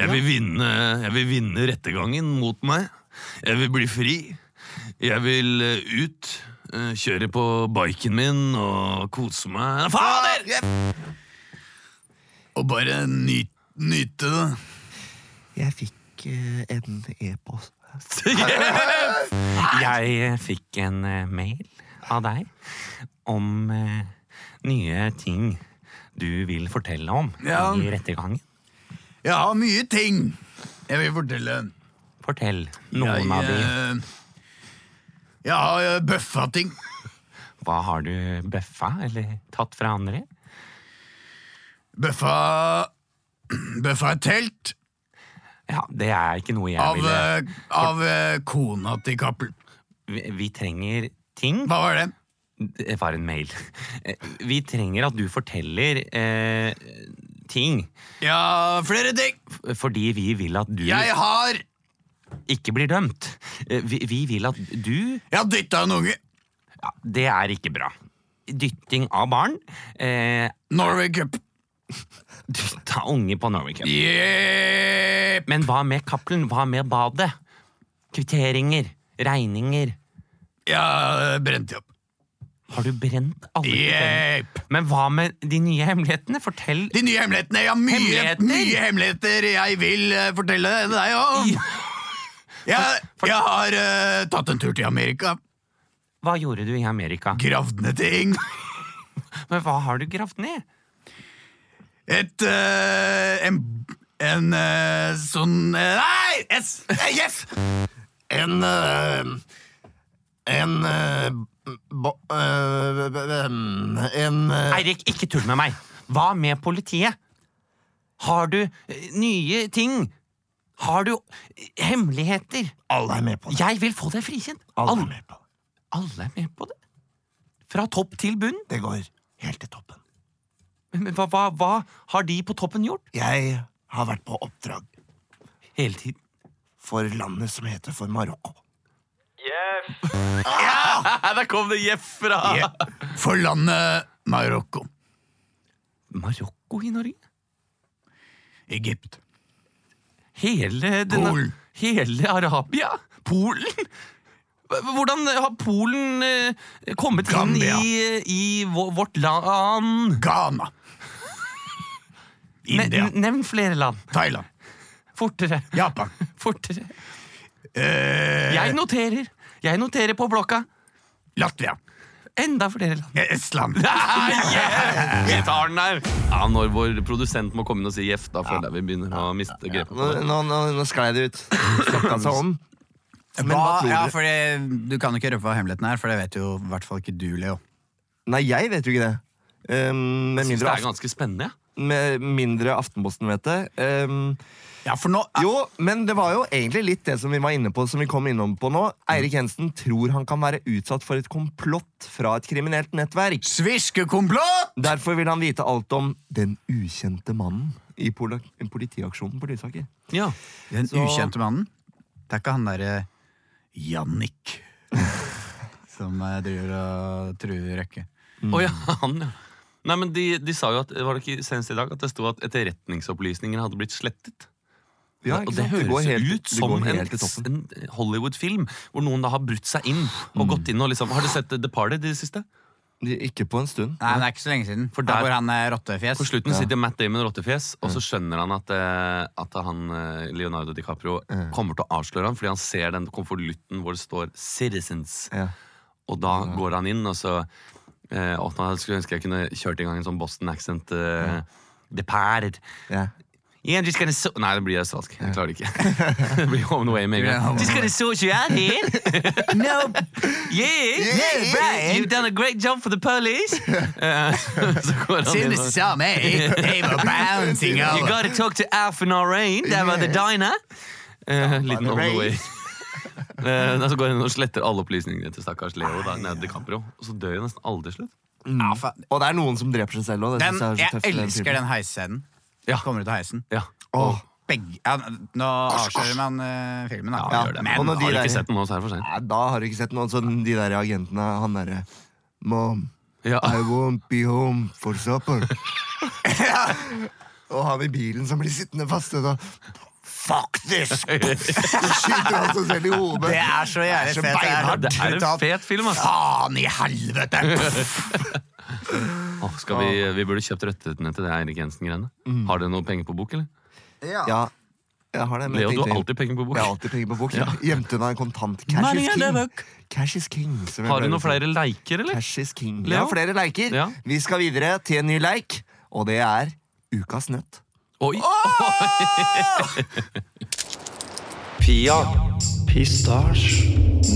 Speaker 1: Jeg vil, vinne, jeg vil vinne rettegangen mot meg. Jeg vil bli fri. Jeg vil eh, ut, eh, kjøre på biken min og kose meg. Fader!
Speaker 3: Og bare nyt, nyte det.
Speaker 2: Jeg fikk eh, en e-post.
Speaker 4: Jeg eh, fikk en eh, mail av deg om eh, nye ting du vil fortelle om
Speaker 3: Ja.
Speaker 4: i rettergangen.
Speaker 3: Jeg har mye ting jeg vil fortelle.
Speaker 4: Fortell noen av de.
Speaker 3: eh, Jeg har eh, bøffa ting.
Speaker 4: Hva har du bøffa eller tatt fra andre?
Speaker 3: Bøffa Bøffa et telt
Speaker 4: Ja, det er ikke noe jeg
Speaker 3: av,
Speaker 4: ville
Speaker 3: eh, av eh, kona til Cappelen.
Speaker 4: Vi, vi trenger ting.
Speaker 3: Hva var det?
Speaker 4: Det var en mail. Eh, Vi trenger at du forteller eh, ting.
Speaker 3: Ja, flere ting.
Speaker 4: f- Fordi vi vil at du
Speaker 3: Jeg har
Speaker 4: ikke blir dømt. Eh, Vi, vi vil at du
Speaker 3: Jeg har dytta en unge.
Speaker 4: ja, Det er ikke bra. Dytting av barn. Eh,
Speaker 3: Norway Cup.
Speaker 4: dytta unge på Norway Cup.
Speaker 3: Jepp.
Speaker 4: Men hva med Cappelen? Hva med badet? Kvitteringer? Regninger?
Speaker 3: Jeg har brent opp.
Speaker 4: Har du brent alle kvitteringer?
Speaker 3: Jepp.
Speaker 4: Men hva med de nye hemmelighetene? Fortell
Speaker 3: De nye hemmelighetene. Jeg har mye
Speaker 4: Hemmeligheter?
Speaker 3: hemmeligheter, mye hemmeligheter jeg vil eh, fortelle deg om. Jeg, jeg har eh, tatt en tur til Amerika.
Speaker 4: Hva gjorde du i Amerika?
Speaker 3: Gravd ned ting.
Speaker 4: Men hva har du gravd ned?
Speaker 3: et eh, En, en eh, sånn eh, Nei! Et, eh, yes!
Speaker 2: En eh, En eh, bo, eh, b- b- em, En eh,
Speaker 4: Eirik, ikke tull med meg. Hva med politiet? Har du eh, nye ting? Har du eh, hemmeligheter?
Speaker 2: Alle er med på det.
Speaker 4: Jeg vil få deg frikjent.
Speaker 2: Alle er med på det.
Speaker 4: Alle er med på det. Fra topp til bunn.
Speaker 2: Det går helt til toppen.
Speaker 4: Men men hva, hva, hva har de på toppen gjort?
Speaker 2: Jeg har vært på oppdrag
Speaker 4: Hele tiden.
Speaker 2: for landet som heter for Marokko.
Speaker 1: Der kom det Jeff fra!
Speaker 2: Ah.
Speaker 3: For landet Marokko.
Speaker 4: Marokko i Norge?
Speaker 3: Egypt.
Speaker 4: Hele denne,
Speaker 3: Polen.
Speaker 4: Hele Arabia? Polen? H- Hvordan har Polen eh, kommet
Speaker 3: Gambia.
Speaker 4: inn i, i vå- vårt land?
Speaker 3: Ghana.
Speaker 4: Ne-
Speaker 3: India.
Speaker 4: Nevn flere land.
Speaker 3: Thailand.
Speaker 4: Fortere.
Speaker 3: Japan.
Speaker 4: Fortere.
Speaker 3: eh,
Speaker 4: Jeg noterer. Jeg noterer på blokka.
Speaker 3: Latvia.
Speaker 4: Enda flere land.
Speaker 3: eh, Estland.
Speaker 1: Vi tar den der! Ja, når vår produsent må komme inn og si Jeff, da føler jeg vi begynner å miste grepet
Speaker 2: Nå,
Speaker 1: på det.
Speaker 2: nå, nå, nå sklei det ut. Snakka seg om. Men hva tror
Speaker 3: ja,
Speaker 2: du?
Speaker 3: fordi Du kan jo ikke røpe hva hemmeligheten er, for det vet jo i hvert fall ikke du, Leo.
Speaker 2: Nei, jeg vet jo ikke det. Um, med,
Speaker 1: Jeg synes
Speaker 2: mindre
Speaker 1: det er
Speaker 2: aft
Speaker 1: ganske spennende. ja.
Speaker 2: med mindre Aftenposten vet det. Um,
Speaker 3: Ja, for nå
Speaker 2: jo, men det var jo egentlig litt det som vi var inne på, som vi kom innom på nå. Eirik Jensen tror han kan være utsatt for et komplott fra et kriminelt nettverk.
Speaker 3: Sviskekomplott!
Speaker 2: Derfor vil han vite alt om den ukjente mannen i poli politiaksjonen på Lysaker.
Speaker 1: Ja.
Speaker 3: Den
Speaker 2: Så-
Speaker 3: ukjente mannen. Det er ikke han derre Jannik som eh, driver og truer Røkke.
Speaker 2: Mm.
Speaker 1: Å ja, han, ja. Nei, men de, de sa jo at var det ikke senest i dag at det sto at etterretningsopplysninger hadde blitt slettet.
Speaker 2: Ja,
Speaker 1: og
Speaker 2: ikke
Speaker 1: det
Speaker 2: sant?
Speaker 1: høres
Speaker 2: går helt-
Speaker 1: ut som
Speaker 2: det går
Speaker 1: en,
Speaker 2: helt til toppen. Mm.
Speaker 1: en Hollywood-film hvor noen da har brutt seg inn og gått inn og liksom Har du sett The Party i det siste?
Speaker 2: Ikke på en stund.
Speaker 3: Nei, men det er ikke så lenge siden.
Speaker 1: For
Speaker 3: For
Speaker 1: der-
Speaker 3: der hvor han er rottefjes.
Speaker 1: På slutten sitter Matt Damon rottefjes, og
Speaker 2: Mm.
Speaker 1: så skjønner han at, eh, at han, eh, Leonardo DiCaprio kommer til å avsløre ham fordi han ser den konvolutten hvor det står 'Citizens'.
Speaker 2: Ja.
Speaker 1: Og da går han inn, og så eh, og da skulle jeg ønske jeg kunne kjørt i gang en sånn Boston accent. Eh, The Pair.
Speaker 2: Ja.
Speaker 4: Yeah, just gonna so
Speaker 1: Nei, det blir australsk. Jeg klarer det ikke. det blir Home and Away med en gang.
Speaker 4: Just gonna sort you out here.
Speaker 3: No,
Speaker 4: Yeah,
Speaker 3: Yeah, Brian.
Speaker 4: You've done a great job for the police.
Speaker 1: Eh, så går han inn og
Speaker 3: saw me, they were bouncing
Speaker 4: You gotta talk to Alf and Irene down by the diner.
Speaker 1: eh, Liten Home and Away.
Speaker 2: Raid.
Speaker 1: Eh, da så går han inn og sletter alle opplysningene til stakkars Leo. Da, nede i DiCaprio, og så dør jo nesten alle til slutt.
Speaker 3: Ja, fa-
Speaker 2: Mm. Og det er noen som dreper seg selv òg.
Speaker 3: Den, jeg elsker den heisscenen.
Speaker 1: Ja.
Speaker 3: Kommer ut av heisen.
Speaker 1: Ja.
Speaker 2: Åh,
Speaker 3: Begge, ja, nå avslører man eh, filmen, da.
Speaker 2: Ja, gjør det.
Speaker 3: Men
Speaker 2: Og når de
Speaker 1: Har du
Speaker 2: der-
Speaker 1: ikke sett den nå, så er det for seint.
Speaker 2: nei, da har du ikke sett noen sånn de der agentene. Han derre Mom,
Speaker 1: Ja.
Speaker 2: I won't be home for supper. Og han i bilen som blir sittende fast. Og da Fuck this! Så skyter han seg selv i hodet.
Speaker 3: det er så jævlig
Speaker 2: så
Speaker 3: fett. Det er,
Speaker 2: beinhardt.
Speaker 1: Det er en fet film, altså. ass.
Speaker 3: Faen i helvete!
Speaker 1: Åh, skal vi, vi burde kjøpt rettighetene til det Eirik Jensen-greiene. Har dere noe penger på bok, eller?
Speaker 2: Ja, jeg har det. men
Speaker 1: Leo,
Speaker 2: jeg
Speaker 1: du har
Speaker 2: tenkte-
Speaker 1: alltid penger på bok.
Speaker 2: Jeg har alltid penger på bok. Jeg Gjemte unna en kontant. Cash
Speaker 3: Money
Speaker 2: is
Speaker 3: in the
Speaker 2: king.
Speaker 3: book.
Speaker 2: Cash is king som jeg
Speaker 1: Har du
Speaker 2: pleier å
Speaker 1: noen
Speaker 2: si.
Speaker 1: flere leiker, eller?
Speaker 2: Cash is king.
Speaker 1: Leo?
Speaker 2: Jeg har flere leker.
Speaker 1: Ja.
Speaker 2: Vi skal videre til en ny leik, og det er Ukas nøtt.
Speaker 1: Oi!
Speaker 6: Pia. Pistasj.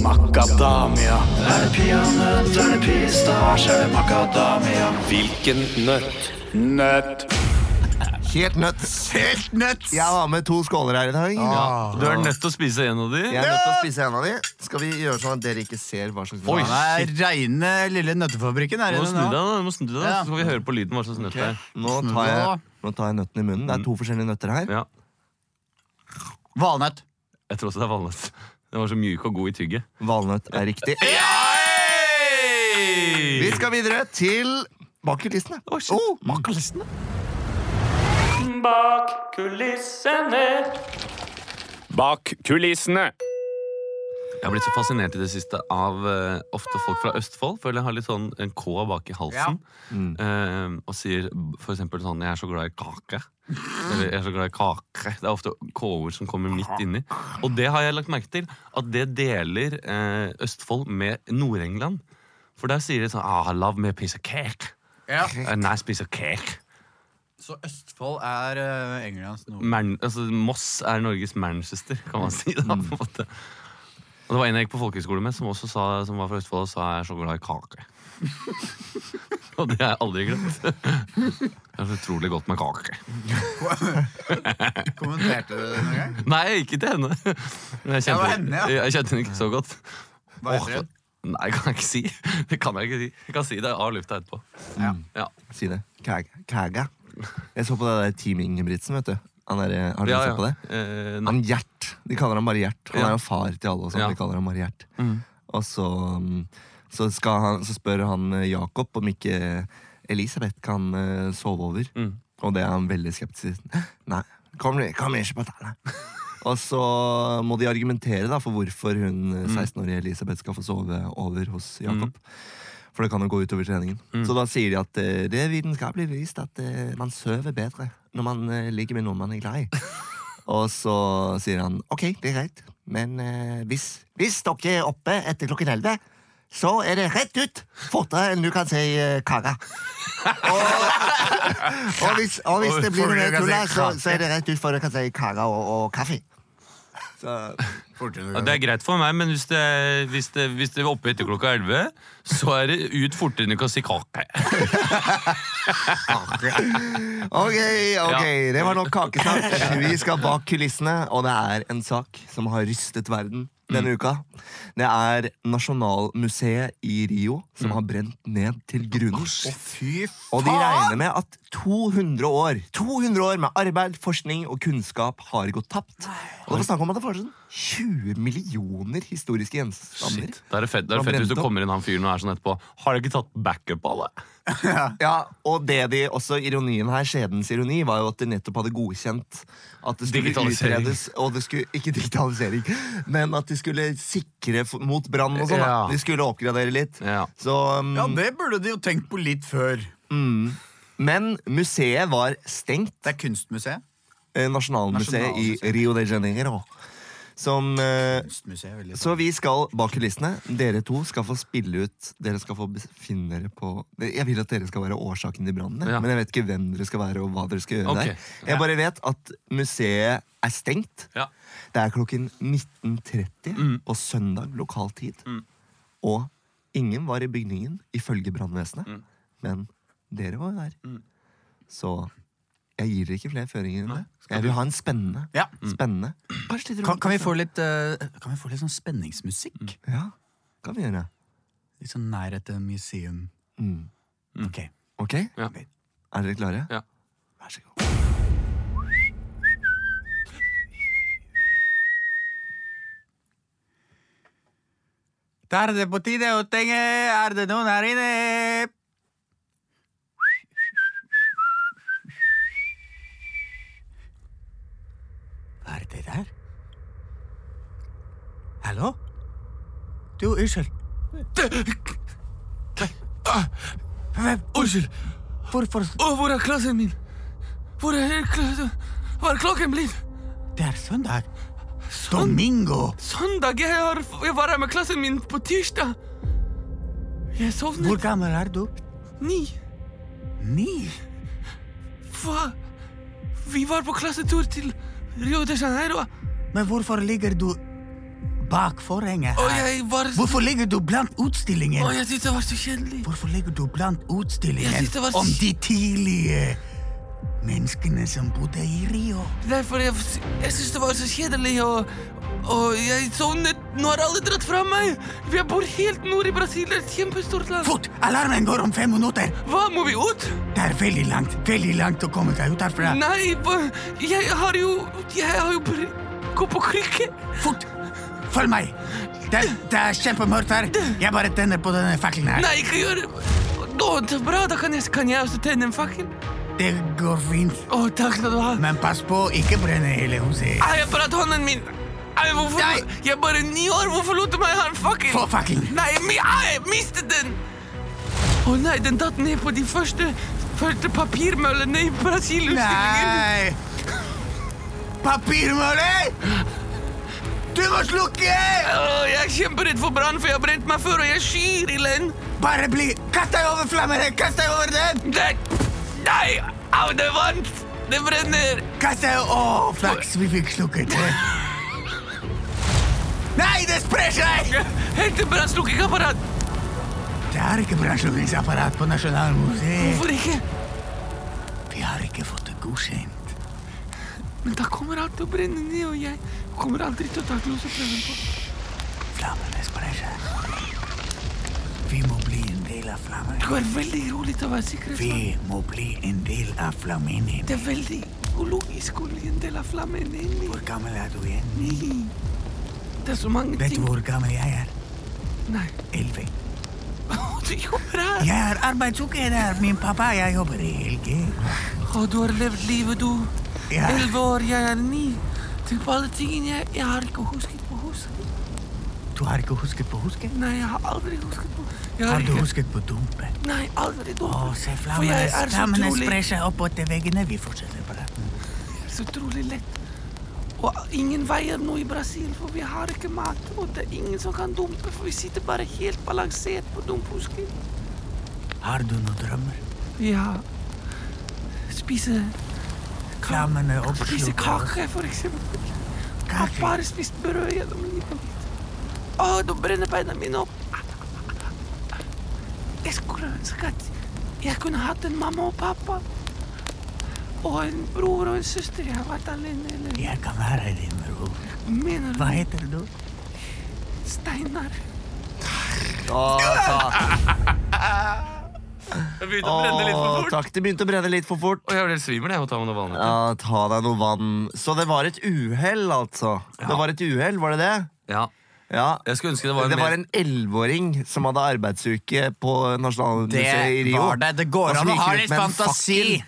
Speaker 6: Makadamia. Er det peanøtt, er det pistasj, er det makadamia? Hvilken nøtt? Nøtt.
Speaker 2: Helt nuts.
Speaker 3: Helt nuts!
Speaker 2: Jeg har med to skåler her i dag.
Speaker 1: Du er nødt til å spise en av de.
Speaker 2: Jeg er nødt til å spise en av de. Skal vi gjøre sånn at dere ikke ser hva slags
Speaker 1: Oi.
Speaker 3: Det er reine lille nøttefabrikken her
Speaker 1: Du må snu
Speaker 3: inne
Speaker 1: deg,
Speaker 3: nå.
Speaker 1: da. du må snu deg, da.
Speaker 3: Ja.
Speaker 1: Så skal vi høre på lyden hva slags nøtt det er.
Speaker 2: Nå tar, jeg, nå tar jeg nøtten i munnen. Det er to forskjellige nøtter her.
Speaker 1: Ja.
Speaker 3: Valnøtt.
Speaker 1: Jeg tror også det er valnøtt. Den var så mjuk og god i tygget.
Speaker 2: Valnøtt er riktig. Vi skal videre til Bak kulissene. Oh, bak kulissene.
Speaker 7: Bak kulissene.
Speaker 6: Bak kulissene.
Speaker 1: Jeg har blitt så fascinert i det siste av eh, ofte folk fra Østfold. Føler jeg har litt sånn en K bak i halsen. Eh, og sier for eksempel sånn 'Jeg er så glad i kake'. Eller 'Jeg er så glad i kake'. Det er ofte K-ord som kommer midt inni. Og det har jeg lagt merke til. At det deler eh, Østfold med Nord-England. For der sier de sånn ah, 'I love me a piece of cake'.
Speaker 3: Ja.
Speaker 1: A nice piece of cake.
Speaker 3: Så Østfold er eh, Englands nord...
Speaker 1: Man, altså, Moss er Norges Manchester, kan man si. da,
Speaker 3: Mm.
Speaker 1: på en måte. Og det var en jeg gikk på folkehøyskole med, som også sa, som var fra Østfold, og sa jeg er så glad i kake. og det har jeg aldri glemt. Det er så utrolig godt med kake.
Speaker 3: Kommenterte du det noen gang?
Speaker 1: Nei, ikke til henne. Men jeg
Speaker 3: Ja, det
Speaker 1: kjente,
Speaker 3: var henne, ja.
Speaker 1: jeg kjente henne ikke så godt.
Speaker 3: Hva heter
Speaker 1: Åh,
Speaker 3: hun?
Speaker 1: Nei, kan jeg ikke si. Det kan jeg ikke si. Jeg kan si det av lufta etterpå.
Speaker 3: Ja.
Speaker 1: Ja.
Speaker 2: Si det. Kæg- Kæga. Jeg så på det der Team Ingebrigtsen, vet du. Han er, har dere
Speaker 1: Ja,
Speaker 2: sett på
Speaker 1: ja.
Speaker 2: det?
Speaker 1: Eh, nei.
Speaker 2: Han Gjert. De kaller ham bare Gjert. Han
Speaker 1: Ja.
Speaker 2: er jo far til alle. Og sånn,
Speaker 1: Ja.
Speaker 2: de kaller ham bare Gjert. Og så, mm, så, skal han, så spør han eh, Jakob om ikke Elisabeth kan eh, sove over.
Speaker 1: Mm.
Speaker 2: Og det er han veldig skeptisk til. Nei, kom, kom ikke på tale. Og så må de argumentere da, for hvorfor hun eh,
Speaker 1: Mm.
Speaker 2: 16-årige Elisabeth skal få sove over hos Jakob. For det kan jo gå utover treningen.
Speaker 3: Mm.
Speaker 2: Så da sier de at eh, det er vitenskapelig vist at eh, man sover bedre når man eh, ligger med noen man er glad i. Og så sier han OK, det er greit, men eh, hvis, hvis dere er oppe etter klokken 11, så er det rett ut! Fortere enn du kan si eh, kara. Og, og, hvis, og hvis det blir
Speaker 3: Fortere
Speaker 2: noe
Speaker 3: enn du kan si
Speaker 2: tull, så,
Speaker 3: kake.
Speaker 2: så er det rett ut, for du kan si kara og, og kaffe. Så,
Speaker 1: Ja, det er greit for meg, men hvis det, hvis det, hvis det er oppe etter klokka 11, så er det ut fortere enn du kan si kake.
Speaker 2: ok, ok, det var nok kakesnakk. Vi skal bak kulissene, og det er en sak som har rystet verden denne uka. Det er Nasjonalmuseet i Rio som har brent ned til grunnen.
Speaker 3: Fy f...
Speaker 2: Og de regner med at 200 år 200 år med arbeid, forskning og kunnskap har gått tapt. Og det var snakk om at det var sånn 20 millioner historiske gjenstander.
Speaker 1: Shit. Det er det fett, det er det
Speaker 2: Han
Speaker 1: fett hvis du
Speaker 2: brente opp.
Speaker 1: kommer inn han fyren og er sånn etterpå Har jeg ikke tatt backup av det?
Speaker 2: Ja, Og det de også ironien her, skjedens ironi, var jo at de nettopp hadde godkjent at det skulle
Speaker 1: Digitalisering.
Speaker 2: utredes Og det skulle, ikke digitalisering, men at de skulle sikre f- mot brann og sånn. da.
Speaker 1: Ja.
Speaker 2: De skulle oppgradere litt.
Speaker 1: Ja.
Speaker 2: Så um,
Speaker 3: Ja, det burde de jo tenkt på litt før.
Speaker 2: Men museet var stengt.
Speaker 3: Det er kunstmuseet.
Speaker 2: eh, Nasjonalmuseet i
Speaker 3: Nasjonalmuseet.
Speaker 2: Rio de Janeiro. Som eh,
Speaker 3: Kunstmuseet, veldig
Speaker 2: Så vi skal bak kulissene. Dere to skal få spille ut. Dere skal få befinne dere på Jeg vil at dere skal være årsaken til brannen, jeg.
Speaker 1: Ja.
Speaker 2: men jeg vet ikke hvem dere skal være, og hva dere skal gjøre
Speaker 1: Ok.
Speaker 2: der. Jeg bare vet at museet er stengt.
Speaker 1: Ja.
Speaker 2: Det er klokken 19.30
Speaker 3: Mm.
Speaker 2: på søndag lokal tid. Og ingen var i bygningen, ifølge brannvesenet.
Speaker 3: Mm.
Speaker 2: Men dere var jo der. Så jeg gir dere ikke flere føringer enn det. Jeg vil ha en spennende.
Speaker 3: Ja. Mm.
Speaker 2: spennende. Kanskje litt
Speaker 3: Kan, kan vi
Speaker 2: romantisk,
Speaker 3: få litt, eh, kan vi få litt sånn spenningsmusikk?
Speaker 2: da. altså. Ja, kan vi gjøre.
Speaker 3: Litt sånn nærhet til museum.
Speaker 2: Mm.
Speaker 3: Ok.
Speaker 2: Ok?
Speaker 1: Ja.
Speaker 2: Er dere klare?
Speaker 1: Ja.
Speaker 2: Vær så god.
Speaker 3: Da er det på tide å tenke, er det noen her inne? Hva er det der? Hallo? Du, unnskyld. Hvem?
Speaker 1: Unnskyld!
Speaker 3: Hvorfor
Speaker 1: hvor er klassen min? Hvor er klassen? Hva er klokken blitt?
Speaker 3: Det er søndag. Domingo!
Speaker 1: Søndag? Jeg, var her med klassen min på tirsdag. Jeg sovnet
Speaker 3: Hvor gammel er du?
Speaker 1: ni.
Speaker 3: Ni?
Speaker 1: Hva? Vi var på klassetur til Rio de Janeiro,
Speaker 3: Men hvorfor ligger du bak forhenget
Speaker 1: og
Speaker 3: her?
Speaker 1: jeg var
Speaker 3: Hvorfor ligger du blant utstillingen?
Speaker 1: Og jeg syntes det var så kjedelig.
Speaker 3: Hvorfor ligger du blant
Speaker 1: Jeg
Speaker 3: utstillingen
Speaker 1: synes det var
Speaker 3: om
Speaker 1: s-
Speaker 3: de tidlige menneskene som bodde i Rio?
Speaker 1: Derfor jeg, jeg synes det var så kjedelig, og, og jeg sovnet. Nå har alle dratt fra meg. Jeg bor helt nord i Brasil, det er et kjempestort land.
Speaker 3: Fort! Alarmen går om fem minutter!
Speaker 1: Hva, må vi ut?
Speaker 3: Det er veldig langt veldig langt å komme seg ut herfra.
Speaker 1: Nei, hva- jeg har jo Jeg har jo bare gått på krykke.
Speaker 3: Fort! Følg meg! Det, det er kjempemørkt her. Jeg bare tenner på denne fakkelen her.
Speaker 1: Nei, ikke gjør det. Å, det er bra, da kan jeg, kan jeg også tenne en fakkel.
Speaker 3: Det går fint.
Speaker 1: Å, takk skal du ha.
Speaker 3: Men pass på, ikke brenne hele huset.
Speaker 1: Nei, jeg brant hånden min. Ah, Nei, hvorfor?
Speaker 3: Nei.
Speaker 1: Jeg er bare ni år, hvorfor lot du meg ha en fakkel?
Speaker 3: Få fakkelen!
Speaker 1: Nei, mi, ai, jeg mistet den! Å nei, den datt ned på de første, første papirmøllene i Brasil-utstillingen.
Speaker 3: Nei! Papirmølle! Du må slukke!
Speaker 1: Å, jeg er kjemperedd for brann, for jeg har brent meg før, og jeg skyr ilden.
Speaker 3: Bare bli Kast deg over flammene! Kast deg over den!
Speaker 1: Nei, nei, Au, det er varmt! Det brenner!
Speaker 3: Kasse, å, flaks vi fikk slukket det. Nei, det sprer seg!
Speaker 1: Hent en brannslukkingsapparat!
Speaker 3: Det er ikke brannslukkingsapparat på Nasjonalmuseet.
Speaker 1: Hvorfor ikke?
Speaker 3: Vi har ikke fått det godkjent.
Speaker 1: Men da kommer alt til å brenne ned, og jeg kommer aldri til å ta gloseprøven på.
Speaker 3: Flammene sprer seg. Vi må bli en del av flammen.
Speaker 1: Det går veldig rolig til å være sikkerhetsmann.
Speaker 3: Vi må bli en del av flammen.
Speaker 1: Det er veldig ulogisk å bli en del av flammen inni.
Speaker 3: Hvor gammel er du igjen?
Speaker 1: Det er så mange
Speaker 3: Vet du
Speaker 1: ting.
Speaker 3: hvor gammel jeg er?
Speaker 1: Nei.
Speaker 3: Elleve.
Speaker 1: Å, du jobber her!
Speaker 3: Jeg er arbeidsuke der. Min pappa, jeg jobber i helge.
Speaker 1: Å, du har levd livet, du.
Speaker 3: Ja.
Speaker 1: Elleve år, jeg er ni. Tenk på alle tingene jeg, jeg har ikke husket på huset.
Speaker 3: Du har ikke husket på husket?
Speaker 1: Nei, jeg har aldri husket på jeg
Speaker 3: Har du
Speaker 1: ikke-
Speaker 3: husket på dumpen?
Speaker 1: Nei, aldri
Speaker 3: Å,
Speaker 1: dårlig.
Speaker 3: se
Speaker 1: For
Speaker 3: flammene,
Speaker 1: jeg er så
Speaker 3: flammene
Speaker 1: utrolig-
Speaker 3: sprer seg oppover til veggene. Vi fortsetter praten.
Speaker 1: så utrolig lett. Og Oh, ingen veier nå i Brasil, for vi har ikke mat. Og det er Oh, ingen som kan dumpe, for vi sitter bare helt balansert på dumphusken.
Speaker 3: Har du noen drømmer?
Speaker 1: Ja. Spise,
Speaker 3: Flammene
Speaker 1: spise
Speaker 3: oppsluker oss.
Speaker 1: kake, for eksempel. Jeg har
Speaker 3: Kake.
Speaker 1: bare spist brød gjennom livet mitt. Å, nå brenner beina mine opp. Jeg skulle ønske at jeg kunne hatt en mamma og pappa. Og en bror og en søster. Jeg har vært alene. Eller
Speaker 3: Jeg kan være din bror.
Speaker 1: mener
Speaker 3: Hva heter du?
Speaker 1: du Steinar?
Speaker 2: Åh, takk.
Speaker 1: Jeg begynte
Speaker 2: Åh, takk. Det begynte å brenne litt for fort.
Speaker 1: Og jeg ble helt svimmel jeg må ta meg noe vanlig.
Speaker 2: Ja, ta deg noe vann. Så det var et uhell, altså. Det var et uhell, var det det?
Speaker 1: Ja.
Speaker 2: Ja.
Speaker 1: Jeg skulle ønske det var en
Speaker 2: Det var en elleveåring som hadde arbeidsuke på
Speaker 3: eh,
Speaker 2: Nasjonalmuseet i Rio. Og som gikk rundt med en fakkel.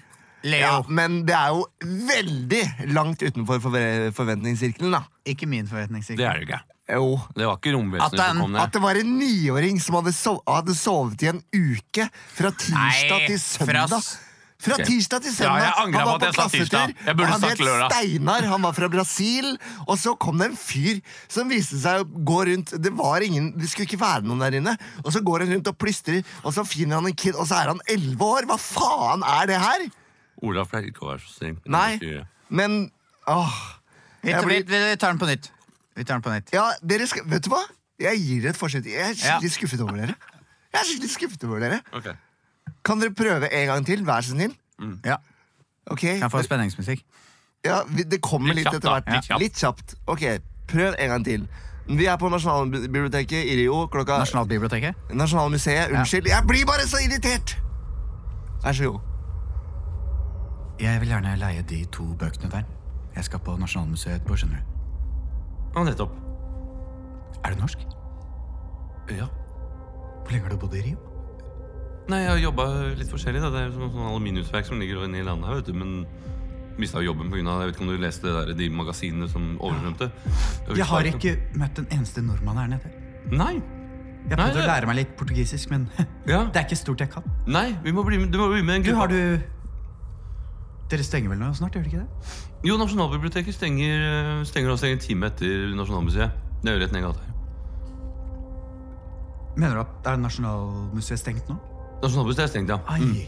Speaker 2: Ja, men det er jo veldig langt utenfor forve- forventningssirkelen, da.
Speaker 3: Ikke min
Speaker 1: Det
Speaker 3: forventningssirkel.
Speaker 1: er det ikke.
Speaker 2: Jo.
Speaker 1: Det var ikke
Speaker 3: At
Speaker 1: romvesenet
Speaker 3: den-
Speaker 1: som kom
Speaker 2: At
Speaker 1: ned.
Speaker 2: det var en niåring som hadde, sov hadde sovet i en uke fra tirsdag
Speaker 3: Nei,
Speaker 2: til søndag.
Speaker 3: fra
Speaker 2: Fra,
Speaker 3: s-
Speaker 2: tirsdag til søndag.
Speaker 1: jeg angrer
Speaker 2: Han
Speaker 1: på
Speaker 2: var
Speaker 1: at jeg sa tirsdag.
Speaker 2: klassetur,
Speaker 1: Jeg burde
Speaker 2: og han
Speaker 1: sagt lørdag.
Speaker 2: Steinar, han var fra Brasil. Og så kom det en fyr som viste seg å gå rundt Det var ingen, det skulle ikke være noen der inne. Og så går han rundt og plystrer, og så finner han en kid, og så er han elleve år! Hva faen er det her?!
Speaker 1: Olaf pleier ikke å være så streng.
Speaker 2: Nei, men åh.
Speaker 3: Vi,
Speaker 2: Jeg blir-
Speaker 3: vi, vi tar den på nytt. Vi tar den på nytt.
Speaker 2: Ja, dere skal, vet du hva? Jeg gir dere et forsøk. Jeg er skikkelig skuffet over dere. Jeg er skikkelig skuffet over dere.
Speaker 1: Ok.
Speaker 2: Kan dere prøve en gang til? Vær så snill.
Speaker 3: Ja.
Speaker 2: Ok,
Speaker 3: Kan jeg få spenningsmusikk?
Speaker 2: ja, vi- Det kommer
Speaker 1: Litt
Speaker 2: litt,
Speaker 1: kjapt,
Speaker 2: etter
Speaker 1: da.
Speaker 2: hvert.
Speaker 1: Litt kjapt.
Speaker 2: Litt kjapt. Ok, Prøv en gang til. Vi er på Nasjonalbiblioteket i Rio klokka
Speaker 3: Nasjonalbiblioteket?
Speaker 2: Nasjonalmuseet. Unnskyld. Jeg blir bare så irritert! Vær så god.
Speaker 3: Jeg vil gjerne leie de to bøkene der. Jeg skal på Nasjonalmuseet etterpå, skjønner du.
Speaker 1: Ja, nettopp.
Speaker 3: Er du norsk?
Speaker 1: Ja.
Speaker 3: Hvor lenge har du bodd i Rio?
Speaker 1: Nei, jeg har jobba litt forskjellig. Da. Det er sånn, sånn aluminiumsverk som ligger inne i landet her, vet du. Men mista jobben pga. Jeg vet ikke om du leste det der, de magasinene som oversvømte?
Speaker 3: Jeg har ikke møtt en eneste nordmann her nede.
Speaker 1: Nei. Nei,
Speaker 3: Jeg prøvde å
Speaker 1: det-
Speaker 3: lære meg litt portugisisk, men det
Speaker 1: Ja.
Speaker 3: er ikke stort jeg kan.
Speaker 1: Nei, vi må bli med, du må bli med en
Speaker 3: Du,
Speaker 1: gruppe.
Speaker 3: har du Dere stenger vel nå snart, gjør dere ikke det?
Speaker 1: Jo, Nasjonalbiblioteket stenger, eh, stenger også en time etter Nasjonalmuseet. Det er jo rett ned i gata her.
Speaker 3: Mener du at er Nasjonalmuseet stengt nå?
Speaker 1: Nasjonalmuseet er stengt, ja. Mm.
Speaker 3: Ai.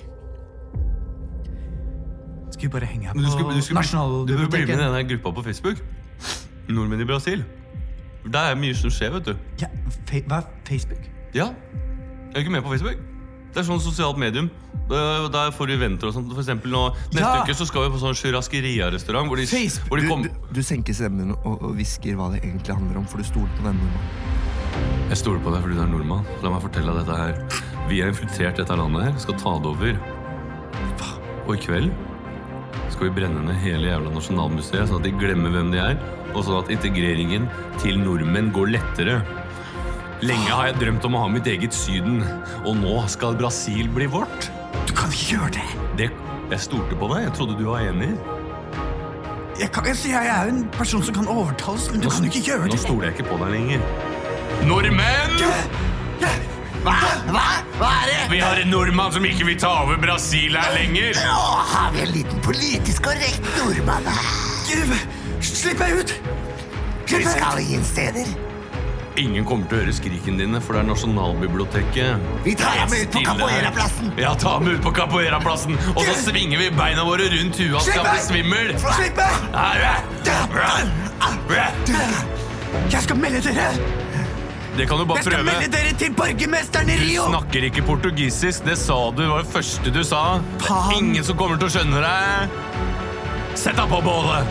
Speaker 3: Skal vi bare henge her
Speaker 1: Men
Speaker 3: på
Speaker 1: Du skulle, du skulle, du burde bli med i
Speaker 3: Nasjonalbiblioteket?
Speaker 1: den der gruppa på Facebook. Nordmenn i Brasil. Der er mye som skjer, vet du.
Speaker 3: Ja, fe hva er Facebook?
Speaker 1: Ja. Jeg er ikke med på Facebook. Det er sånn sosialt medium. Eh, Der får du eventer og sånt. For eksempel nå, neste
Speaker 3: Ja.
Speaker 1: uke så skal vi på sånn sjuraskeria-restaurant. Hvor de,
Speaker 3: Facebook.
Speaker 1: hvor de
Speaker 2: Du,
Speaker 1: kom...
Speaker 2: du, du senker stemmen og og hvisker hva det egentlig handler om, for du stoler på denne mannen.
Speaker 1: Jeg stoler på deg fordi du er nordmann. La meg fortelle deg dette her. Vi er infiltrert dette landet her. Skal ta det over. Og i kveld skal vi brenne ned hele jævla Nasjonalmuseet, sånn at de glemmer hvem de er, og sånn at integreringen til nordmenn går lettere. Lenge har jeg drømt om å ha mitt eget Syden, og nå skal Brasil bli vårt.
Speaker 3: Du kan ikke gjøre det!
Speaker 1: Det, jeg stolte på deg. Jeg trodde du var enig.
Speaker 3: Jeg, kan, jeg, jeg er jo en person som kan overtales, men du
Speaker 1: Nå-
Speaker 3: kan jo ikke gjøre
Speaker 1: Nå
Speaker 3: det!
Speaker 1: stoler jeg ikke på deg lenger. Nordmenn!
Speaker 2: Hva? Hva? Hva er det?
Speaker 1: Vi har en nordmann som ikke vil ta over Brasil her lenger.
Speaker 2: Nå har vi en liten politisk korrekt nordmann her.
Speaker 3: Slipp meg ut!
Speaker 2: Du skal ingen steder.
Speaker 1: Ingen kommer til å høre skriken dine, for det er Nasjonalbiblioteket.
Speaker 2: Vi tar ham ut på
Speaker 1: Stille.
Speaker 2: Capoeira-plassen!
Speaker 1: Ja, ta ham ut på Capoeira-plassen, og så svinger vi beina våre rundt huet hans til han blir svimmel.
Speaker 2: Slipp meg! Jeg skal melde dere!
Speaker 1: Det kan du bare
Speaker 3: Jeg skal
Speaker 1: prøve.
Speaker 3: melde dere til borgermesteren i Rio!
Speaker 1: Snakker ikke portugisisk. Det sa du. Det var det første du sa. Det er ingen som kommer til å skjønne deg. Sett deg på bålet!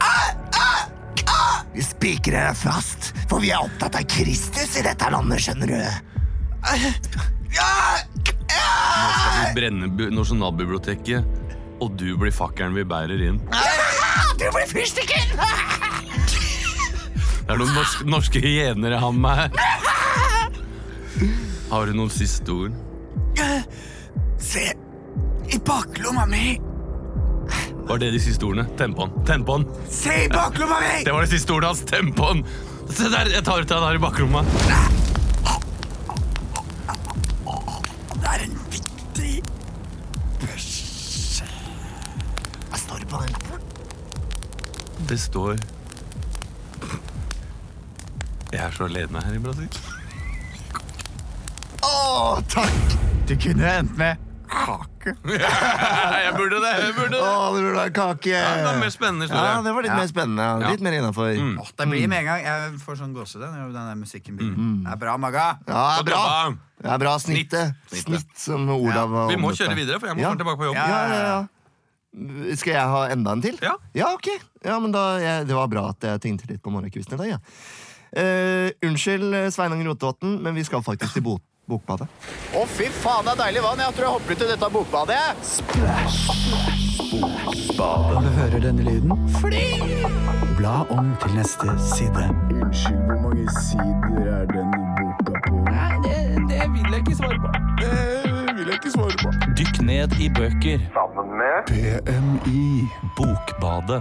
Speaker 3: ah,
Speaker 2: Vi spikrer dere fast, for vi er opptatt av Kristus i dette landet, skjønner du.
Speaker 3: Ah,
Speaker 1: Vi brenner bu- Nasjonalbiblioteket, og du blir fakkelen vi bærer inn.
Speaker 2: Du blir fyrstikker!
Speaker 1: Det er noen norske, norske hyener i ham her. Har du noen siste ord?
Speaker 3: Se i baklomma mi!
Speaker 1: Var det de siste ordene? Tempoen. Tempoen.
Speaker 3: Se i baklomma mi!
Speaker 1: Det var det siste ordet hans. Tempoen. Se der, jeg tar ut deg der i bakrommet.
Speaker 3: Det er en viktig
Speaker 2: Hva står det på den?
Speaker 1: Det står Jeg er så alene her i Brasil.
Speaker 2: Å, takk!
Speaker 3: Du kunne endt med kake.
Speaker 1: Jeg burde det. jeg burde
Speaker 2: Å,
Speaker 1: det.
Speaker 2: det burde være kake! Ja,
Speaker 1: Det var en mer spennende historie.
Speaker 2: det var litt mer spennende. Litt mer innafor.
Speaker 1: Mm.
Speaker 3: Åh, det blir med en gang. Jeg får sånn gåsehud når den der musikken begynner. Det er bra, Magga.
Speaker 2: Ja,
Speaker 1: Og
Speaker 2: bra.
Speaker 1: jobba.
Speaker 2: Det er bra snittet.
Speaker 1: Snitt.
Speaker 2: Snitt, som Olav var
Speaker 1: Vi må
Speaker 2: omvendt
Speaker 1: kjøre
Speaker 2: der.
Speaker 1: videre, for jeg må
Speaker 2: Ja.
Speaker 1: snart tilbake på jobb.
Speaker 3: Ja.
Speaker 2: Ja, ja, ja. Skal jeg ha enda en til?
Speaker 1: Ja.
Speaker 2: ok. Ja, men da, jeg, det var bra at jeg tenkte litt på morgenkvisten i dag. Ja. Eh, unnskyld, eh, Sveinung Rotevatn, men vi skal faktisk til bo Bokbadet.
Speaker 8: Å, fy faen, det er deilig vann. Jeg tror jeg hopper ut i dette bokbadet. jeg.
Speaker 3: Når du hører denne lyden, bla om til neste side.
Speaker 4: Dykk ned i bøker. Sammen med PMI. Bokbadet.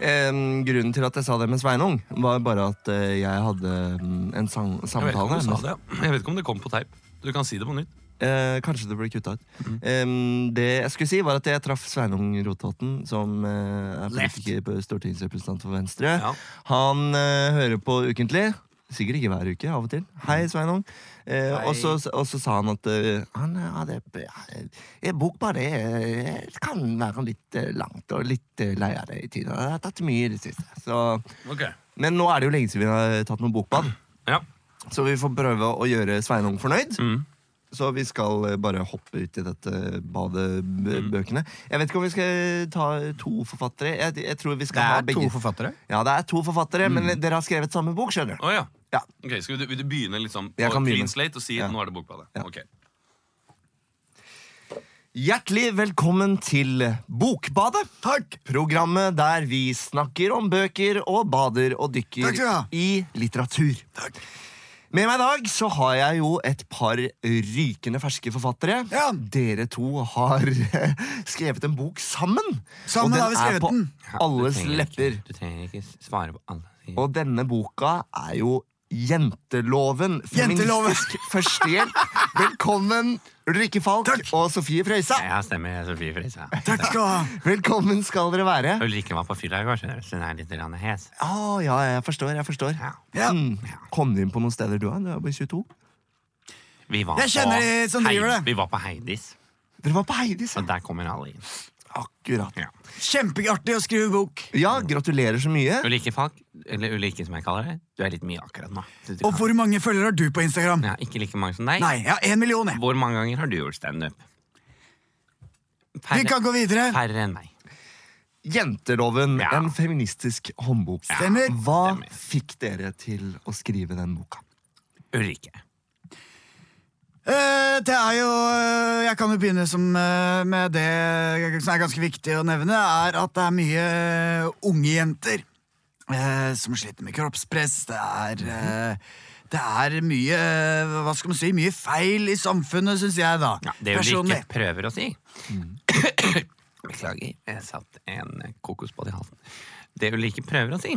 Speaker 2: Eh, grunnen til at jeg sa det med Sveinung, var bare at eh, jeg hadde mm, en sang
Speaker 1: Jeg vet, ikke om du
Speaker 2: samtale.
Speaker 1: sa det. jeg vet ikke om det kom på teip. Du kan si det på nytt.
Speaker 2: Eh, kanskje det ble kutta ut.
Speaker 1: Mhm.
Speaker 2: Eh, det jeg skulle si, var at jeg traff Sveinung Rotevatn, som eh, er politiker, stortingsrepresentant for Venstre.
Speaker 1: Ja.
Speaker 2: Han eh, hører på ukentlig. Sikkert ikke hver uke, av og til. Hei,
Speaker 1: Mhm.
Speaker 2: Sveinung. Eh, og, så, og så sa han at eh, han hadde eh, Bok bare eh, kan være litt eh, langt og litt eh, lei av det i tida. Det har tatt mye i det siste. Så, men nå er det jo lenge siden vi har tatt noe bokbad.
Speaker 1: Ja.
Speaker 2: Så vi får prøve å gjøre Sveinung fornøyd.
Speaker 3: Mm.
Speaker 2: Så vi skal eh, bare hoppe ut i dette
Speaker 3: Mm.
Speaker 2: badebøkene. Jeg vet ikke om vi skal ta to forfattere. Jeg, jeg tror vi skal
Speaker 3: Det
Speaker 2: ha
Speaker 3: er
Speaker 2: begge.
Speaker 3: to forfattere. Mm.
Speaker 2: Ja, det er to forfattere, men dere har skrevet samme bok, skjønner du.
Speaker 1: Å, ja.
Speaker 2: Ja.
Speaker 1: Ok, skal vi, Vil du begynne liksom på
Speaker 2: Jeg kan begynne.
Speaker 1: clean slate og si
Speaker 2: Ja.
Speaker 1: nå er det Bokbadet?
Speaker 2: Ja.
Speaker 1: Ok.
Speaker 2: Hjertelig velkommen til Bokbadet. Takk! Programmet der vi snakker om bøker og bader og dykker
Speaker 3: Takk skal
Speaker 2: i litteratur. Takk. Med meg i dag så har jeg jo et par rykende ferske forfattere.
Speaker 3: Ja.
Speaker 2: Dere to har skrevet en bok sammen.
Speaker 3: Sammen
Speaker 2: og den
Speaker 3: har vi skrevet
Speaker 2: er på
Speaker 3: den.
Speaker 2: alles lepper.
Speaker 4: Du trenger ikke svare på alle sider.
Speaker 2: Og denne boka er jo Jenteloven.
Speaker 3: Jenteloven.
Speaker 2: Feministisk førstehjelp. Velkommen Ulrikke Falk og Sofie Frøysa.
Speaker 4: Ja, stemmer. jeg er Sofie Frisa.
Speaker 3: Takk skal du ha.
Speaker 2: Velkommen skal dere være.
Speaker 4: Ulrikke var på fylla i går, skjønner du, så hun er litt grann hes.
Speaker 2: Å, ja, jeg forstår. jeg forstår
Speaker 4: Ja.
Speaker 3: Ja.
Speaker 2: Mm. Kom du inn på noen steder, du er? Du er bare 22.
Speaker 4: Vi var
Speaker 3: Jeg kjenner
Speaker 4: på
Speaker 3: de som driver
Speaker 4: Hei-
Speaker 3: det.
Speaker 4: Vi var på Heidis,
Speaker 2: Dere var på Heidis. ja.
Speaker 4: og der kommer alle inn.
Speaker 2: Akkurat.
Speaker 4: Ja.
Speaker 3: Kjempeartig å skrive bok.
Speaker 2: Ja, gratulerer så mye.
Speaker 4: Ulrikke Falk, eller Ulrikke som jeg kaller det, du er litt mye akkurat nå. Du, du
Speaker 3: Og hvor mange følgere har du på Instagram?
Speaker 4: Ja, ikke like mange som deg.
Speaker 3: Nei, jeg har én million, jeg.
Speaker 4: Hvor mange ganger har du gjort standup?
Speaker 3: Vi kan gå videre.
Speaker 4: færre enn meg.
Speaker 2: Jenteloven,
Speaker 4: Ja.
Speaker 2: en feministisk håndbok.
Speaker 3: Stemmer.
Speaker 2: Hva
Speaker 4: Stemmer.
Speaker 2: fikk dere til å skrive den boka?
Speaker 4: Ulrikke.
Speaker 3: Eh, det er jo eh, Jeg kan jo begynne som, eh, med det eh, som er ganske viktig å nevne, er at det er mye eh, unge jenter eh, som sliter med kroppspress. Det
Speaker 4: Mhm.
Speaker 3: er eh, det er mye eh, hva skal man si, mye feil i samfunnet, syns jeg, da.
Speaker 4: Ja, det Ulrikke
Speaker 3: Personlig.
Speaker 4: prøver å si.
Speaker 1: Mm.
Speaker 4: Beklager, jeg satt en kokosbåt i halsen. Det Ulrikke prøver å si,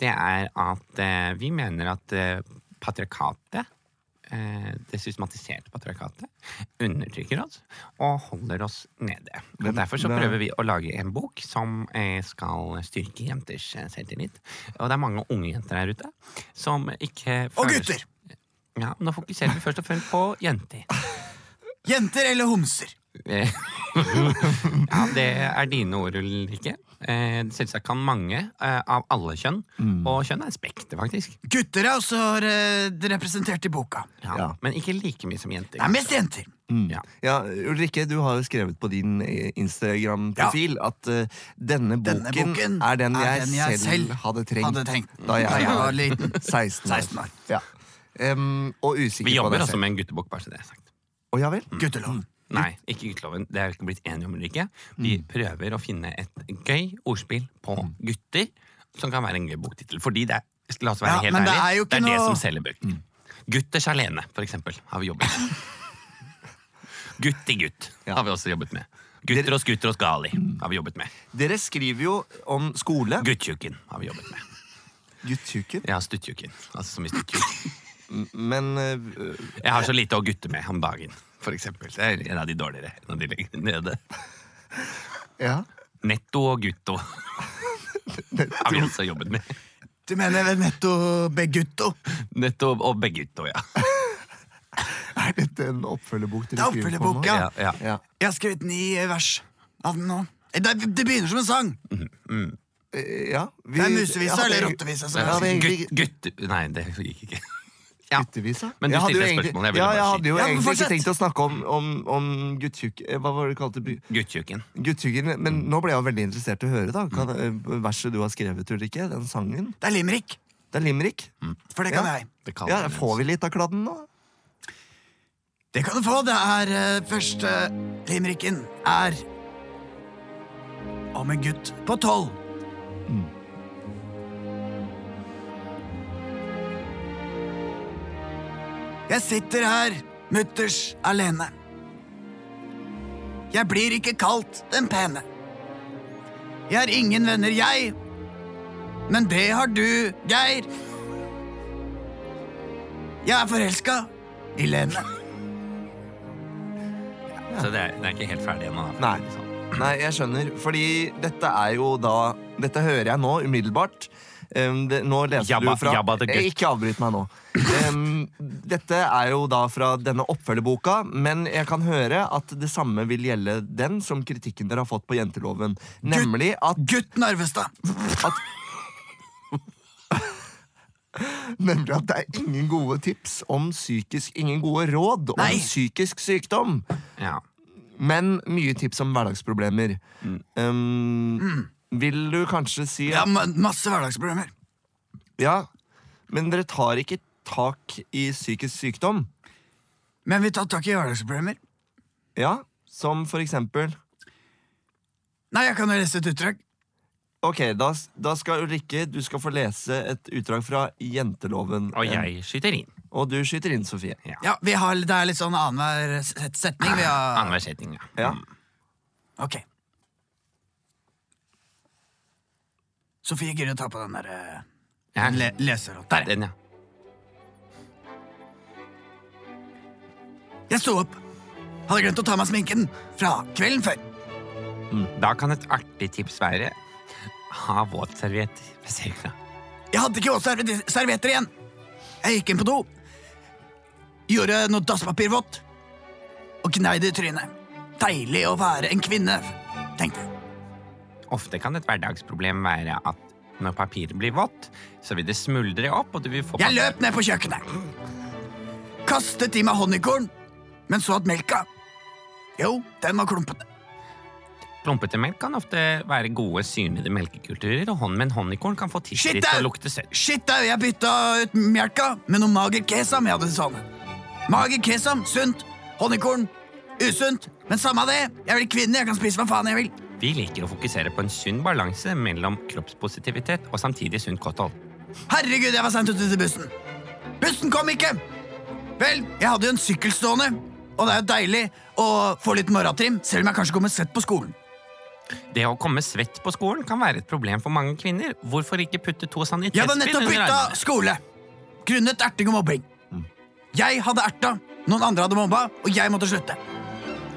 Speaker 4: det er at eh, vi mener at eh, patriarkatet
Speaker 1: eh, det systematiserte patriarkatet undertrykker oss og holder oss nede. Og derfor så
Speaker 2: det er-
Speaker 1: prøver vi å lage en bok som eh, skal styrke jenters eh, selvtillit. Og det er mange unge jenter der ute som ikke
Speaker 3: Og
Speaker 1: føler-
Speaker 3: gutter!
Speaker 1: Ja, Nå fokuserer vi først og fremst på jenter.
Speaker 3: Jenter eller homser?
Speaker 1: Eh, ja, det er dine ord, Ulrikke. Eh, selvsagt kan mange eh, av alle kjønn, og kjønn er spekter, faktisk.
Speaker 3: Gutter er også eh, representert i boka.
Speaker 1: Ja,
Speaker 2: Ja.
Speaker 1: Men ikke like mye som jenter.
Speaker 3: Det er mest jenter.
Speaker 1: Ja.
Speaker 2: Ja, Ulrikke, du har jo skrevet på din eh, Instagram-profil at eh, denne, boken
Speaker 3: Denne boken
Speaker 2: er den
Speaker 3: er
Speaker 2: jeg,
Speaker 3: den jeg
Speaker 2: selv,
Speaker 3: selv
Speaker 2: hadde trengt,
Speaker 3: hadde trengt
Speaker 2: da jeg, var
Speaker 3: liten.
Speaker 2: 16 år.
Speaker 3: 16 år.
Speaker 2: Ja. Em, og usikker
Speaker 1: Vi
Speaker 2: på
Speaker 1: jobber
Speaker 2: deg
Speaker 1: altså
Speaker 2: selv.
Speaker 1: med en guttebok, bare så det er sagt.
Speaker 2: Å, ja vel?
Speaker 3: Guttelov.
Speaker 1: Nei, ikke gutteloven. Det er vi ikke blitt enige om, Ulrikke.
Speaker 3: Mm.
Speaker 1: Vi prøver å finne et gøy ordspill på gutter, som kan være en gøy boktittel. Fordi det er, la oss være
Speaker 3: Ja,
Speaker 1: helt
Speaker 3: men det
Speaker 1: ærlige,
Speaker 3: er jo ikke
Speaker 1: det,
Speaker 3: noe- Mm.
Speaker 1: som selger bøker. Gutters alene, for eksempel, har vi jobbet med. Gutt i gutt har vi også jobbet med. Gutter og skutter og skali
Speaker 3: Mm.
Speaker 1: har vi jobbet med.
Speaker 2: Dere skriver jo om skole.
Speaker 1: Guttjukken har vi jobbet med.
Speaker 2: Guttjukken.
Speaker 1: Ja, stuttjukken. Altså som i stuttjukken.
Speaker 2: Men eh,
Speaker 1: Jeg har så lite å gutte med om dagen, for eksempel. Det er en av de dårligere. En av de lenger nede.
Speaker 2: ja.
Speaker 1: Netto og gutto. Har vi også jobbet med.
Speaker 3: Du mener ved netto begutto?
Speaker 1: Netto og begutto, ja.
Speaker 2: Er dette en oppfølgerbok
Speaker 3: Det
Speaker 2: dere
Speaker 3: er
Speaker 2: skriver på
Speaker 3: oppfølgerbok,
Speaker 2: nå?
Speaker 3: ja.
Speaker 1: Ja, ja.
Speaker 2: Ja.
Speaker 3: Jeg har skrevet ni eh, vers av den nå. Eh, Det, det begynner som en sang.
Speaker 2: Eh, ja. Vi,
Speaker 3: Det er musevisa
Speaker 2: jeg hadde-
Speaker 3: eller rottevisa som
Speaker 2: Jeg
Speaker 3: er
Speaker 2: hadde
Speaker 3: sist.
Speaker 2: egentlig
Speaker 1: Gutt, gutt Nei, det gikk ikke. Ja.
Speaker 2: Guttevisa?
Speaker 1: Men du
Speaker 2: Jeg hadde
Speaker 1: stilte
Speaker 2: jo
Speaker 1: et
Speaker 2: egentlig-
Speaker 1: spørsmål, jeg ville
Speaker 2: Ja,
Speaker 1: bare
Speaker 2: jeg
Speaker 1: si.
Speaker 2: hadde jo
Speaker 3: Ja, men
Speaker 2: egentlig ikke
Speaker 3: fortsett.
Speaker 2: tenkt å snakke om, om, om guttjukk... eh, Hva var det du kalte by-
Speaker 1: Guttjukken.
Speaker 2: guttjuggen? Men nå ble jeg jo veldig interessert i å høre, da. Kan,
Speaker 1: Mm.
Speaker 2: eh, verset du har skrevet, Ulrikke, den sangen.
Speaker 3: Det er limerick,
Speaker 2: Det er limerick.
Speaker 1: Mm,
Speaker 3: for det
Speaker 2: Ja.
Speaker 3: kan jeg.
Speaker 1: Det kan
Speaker 2: Ja,
Speaker 1: være.
Speaker 2: får vi litt av kladden nå?
Speaker 3: Det kan du få. Det er eh, første limericken er om en gutt på tolv. Jeg sitter her mutters alene. Jeg blir ikke kalt den pene. Jeg har ingen venner, jeg. Men det har du, Geir. Jeg er forelska i Lene.
Speaker 1: Så det er, det er ikke helt ferdig ennå. da.
Speaker 2: Nei. Nei, jeg skjønner. Fordi dette er jo da Dette hører jeg nå umiddelbart. Um, det, nå leser
Speaker 1: Jabba-
Speaker 2: du fra
Speaker 1: Jabba the Hutt.
Speaker 2: Eh, Ikke avbryt meg nå. Um, dette er jo da fra denne oppfølgerboka, men jeg kan høre at det samme vil gjelde den som kritikken dere har fått på jenteloven. Nemlig at,
Speaker 3: Gutt Narvestad.
Speaker 2: at Nemlig at det er ingen gode tips om psykisk Ingen gode råd om
Speaker 3: Nei.
Speaker 2: psykisk sykdom.
Speaker 1: Ja.
Speaker 2: Men mye tips om hverdagsproblemer. Um, Vil du kanskje si
Speaker 3: Ja, ma- masse hverdagsproblemer.
Speaker 2: Ja, men dere tar ikke tak i psykisk sykdom?
Speaker 3: Men vi tar tak i hverdagsproblemer.
Speaker 2: Ja, som for eksempel
Speaker 3: Nei, jeg kan jo lese et utdrag.
Speaker 2: Ok, da, da skal Ulrikke du skal få lese et utdrag fra Jenteloven. eh,
Speaker 1: Og jeg skyter inn.
Speaker 2: Og du skyter inn, Sofie.
Speaker 3: Ja, vi har, Det er litt sånn annenhver set- setning. Vi har,
Speaker 1: Annenhver setning, ja. Mm.
Speaker 2: Ja.
Speaker 3: ok. Sofie, gidder du å ta på den der eh,
Speaker 1: Ja.
Speaker 3: le leserollen? Der, ja.
Speaker 1: Den, ja.
Speaker 3: Jeg sto opp. Hadde glemt å ta meg sminken fra kvelden før.
Speaker 1: Da kan et artig tips være ha våtservietter ved siden av.
Speaker 3: Jeg hadde ikke våtserv- servietter igjen. Jeg gikk inn på do, gjorde noe dasspapir vått og gnei det i trynet. Deilig å være en kvinne, tenkte jeg.
Speaker 1: Ofte kan et hverdagsproblem være at når papiret blir vått, så vil det smuldre opp, og du vil få
Speaker 3: Jeg løp ned på kjøkkenet. Kastet i meg honningkorn, men så at melka Jo, den var klumpete.
Speaker 1: Klumpete melk kan ofte være gode, synede melkekulturer, og hånd med en honningkorn kan få
Speaker 3: Shit,
Speaker 1: tidsdritt
Speaker 3: au!
Speaker 1: og lukte søtt.
Speaker 3: Shit, au! Jeg bytta ut melka med noe mager kesam jeg hadde savnet. Mager kesam, sunt. Honningkorn, usunt. Men samme av det, jeg blir kvinne, jeg kan spise hva faen jeg vil.
Speaker 1: Vi liker å fokusere på en sunn balanse mellom kroppspositivitet og samtidig sunt kosthold.
Speaker 3: Herregud, jeg var sent ute til bussen. Bussen kom ikke! Vel, jeg hadde jo en sykkel stående, og det er jo deilig å få litt morgentrim, selv om jeg kanskje kommer sett på skolen.
Speaker 1: Det å komme svett på skolen kan være et problem for mange kvinner. Hvorfor ikke putte to
Speaker 3: Jeg hadde
Speaker 1: sanitetspinn
Speaker 3: nettopp
Speaker 1: under
Speaker 3: bytta
Speaker 1: armene?
Speaker 3: skole, grunnet erting og mobbing. Jeg hadde erta, noen andre hadde mobba, og jeg måtte slutte.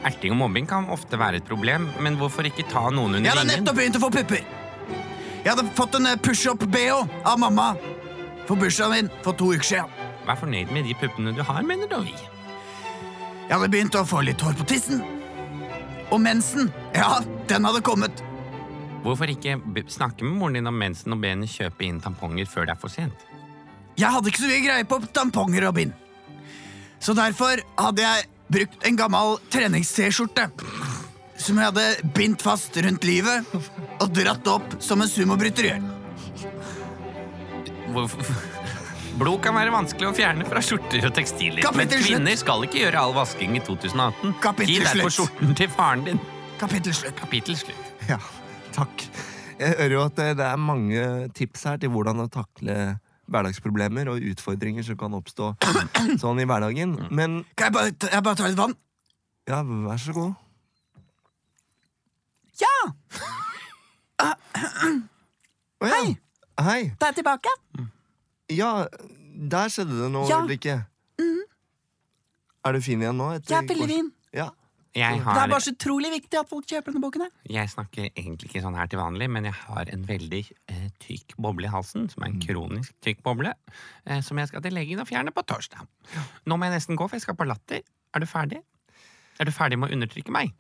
Speaker 1: Erting og mobbing kan ofte være et problem, men hvorfor ikke ta noen
Speaker 3: Jeg
Speaker 1: under
Speaker 3: hadde
Speaker 1: ringen?
Speaker 3: nettopp begynt å få pupper. Jeg hadde fått en eh, push-up-BH av mamma for bursdagen min for to uker siden.
Speaker 1: Vær fornøyd med de puppene du har, mener du?
Speaker 3: Jeg hadde begynt å få litt hår på tissen. Og mensen. Ja, den hadde kommet.
Speaker 1: Hvorfor ikke b- snakke med moren din om mensen og be henne kjøpe inn tamponger før det er for sent?
Speaker 3: Jeg hadde ikke så mye greie på tamponger og bind. Så derfor hadde jeg brukt en gammel trenings-T-skjorte. Som jeg hadde bindt fast rundt livet og dratt opp som en sumobryter gjør.
Speaker 1: Hvorfor? Blod kan være vanskelig å fjerne fra skjorter og tekstiler. Men
Speaker 3: Kapittel slutt.
Speaker 1: kvinner skal ikke gjøre all vasking i 2018.
Speaker 3: Kapittel
Speaker 1: Gi derfor
Speaker 3: slutt.
Speaker 1: skjorten til faren din.
Speaker 3: Kapittel slutt.
Speaker 1: Kapittel slutt.
Speaker 2: Ja, takk. Jeg hører jo at eh, det, det er mange tips her til hvordan å takle hverdagsproblemer og utfordringer som kan oppstå sånn i hverdagen. Men
Speaker 3: Kan jeg bare, ta- jeg bare ta litt vann?
Speaker 2: ja, vær så god.
Speaker 3: Ja!
Speaker 2: Å ja.
Speaker 3: Hei.
Speaker 2: Hei!
Speaker 3: Da er jeg tilbake.
Speaker 2: Ja, der skjedde det noe,
Speaker 3: Ja. Mm.
Speaker 2: Ulrikke. Er du fin igjen nå? etter
Speaker 3: Jeg er veldig
Speaker 2: kors-
Speaker 3: fin.
Speaker 2: Ja.
Speaker 1: Jeg,
Speaker 3: Det er
Speaker 1: har,
Speaker 3: bare så utrolig viktig at folk kjøper denne boken. her.
Speaker 1: jeg snakker egentlig ikke sånn her til vanlig, men jeg har en veldig eh, tykk boble i halsen, som er
Speaker 3: Mm.
Speaker 1: en kronisk tykk boble, eh, som jeg skal til legen og fjerne på torsdag. Nå må jeg nesten gå, for jeg skal på latter. Er du ferdig? Er du ferdig med å undertrykke meg?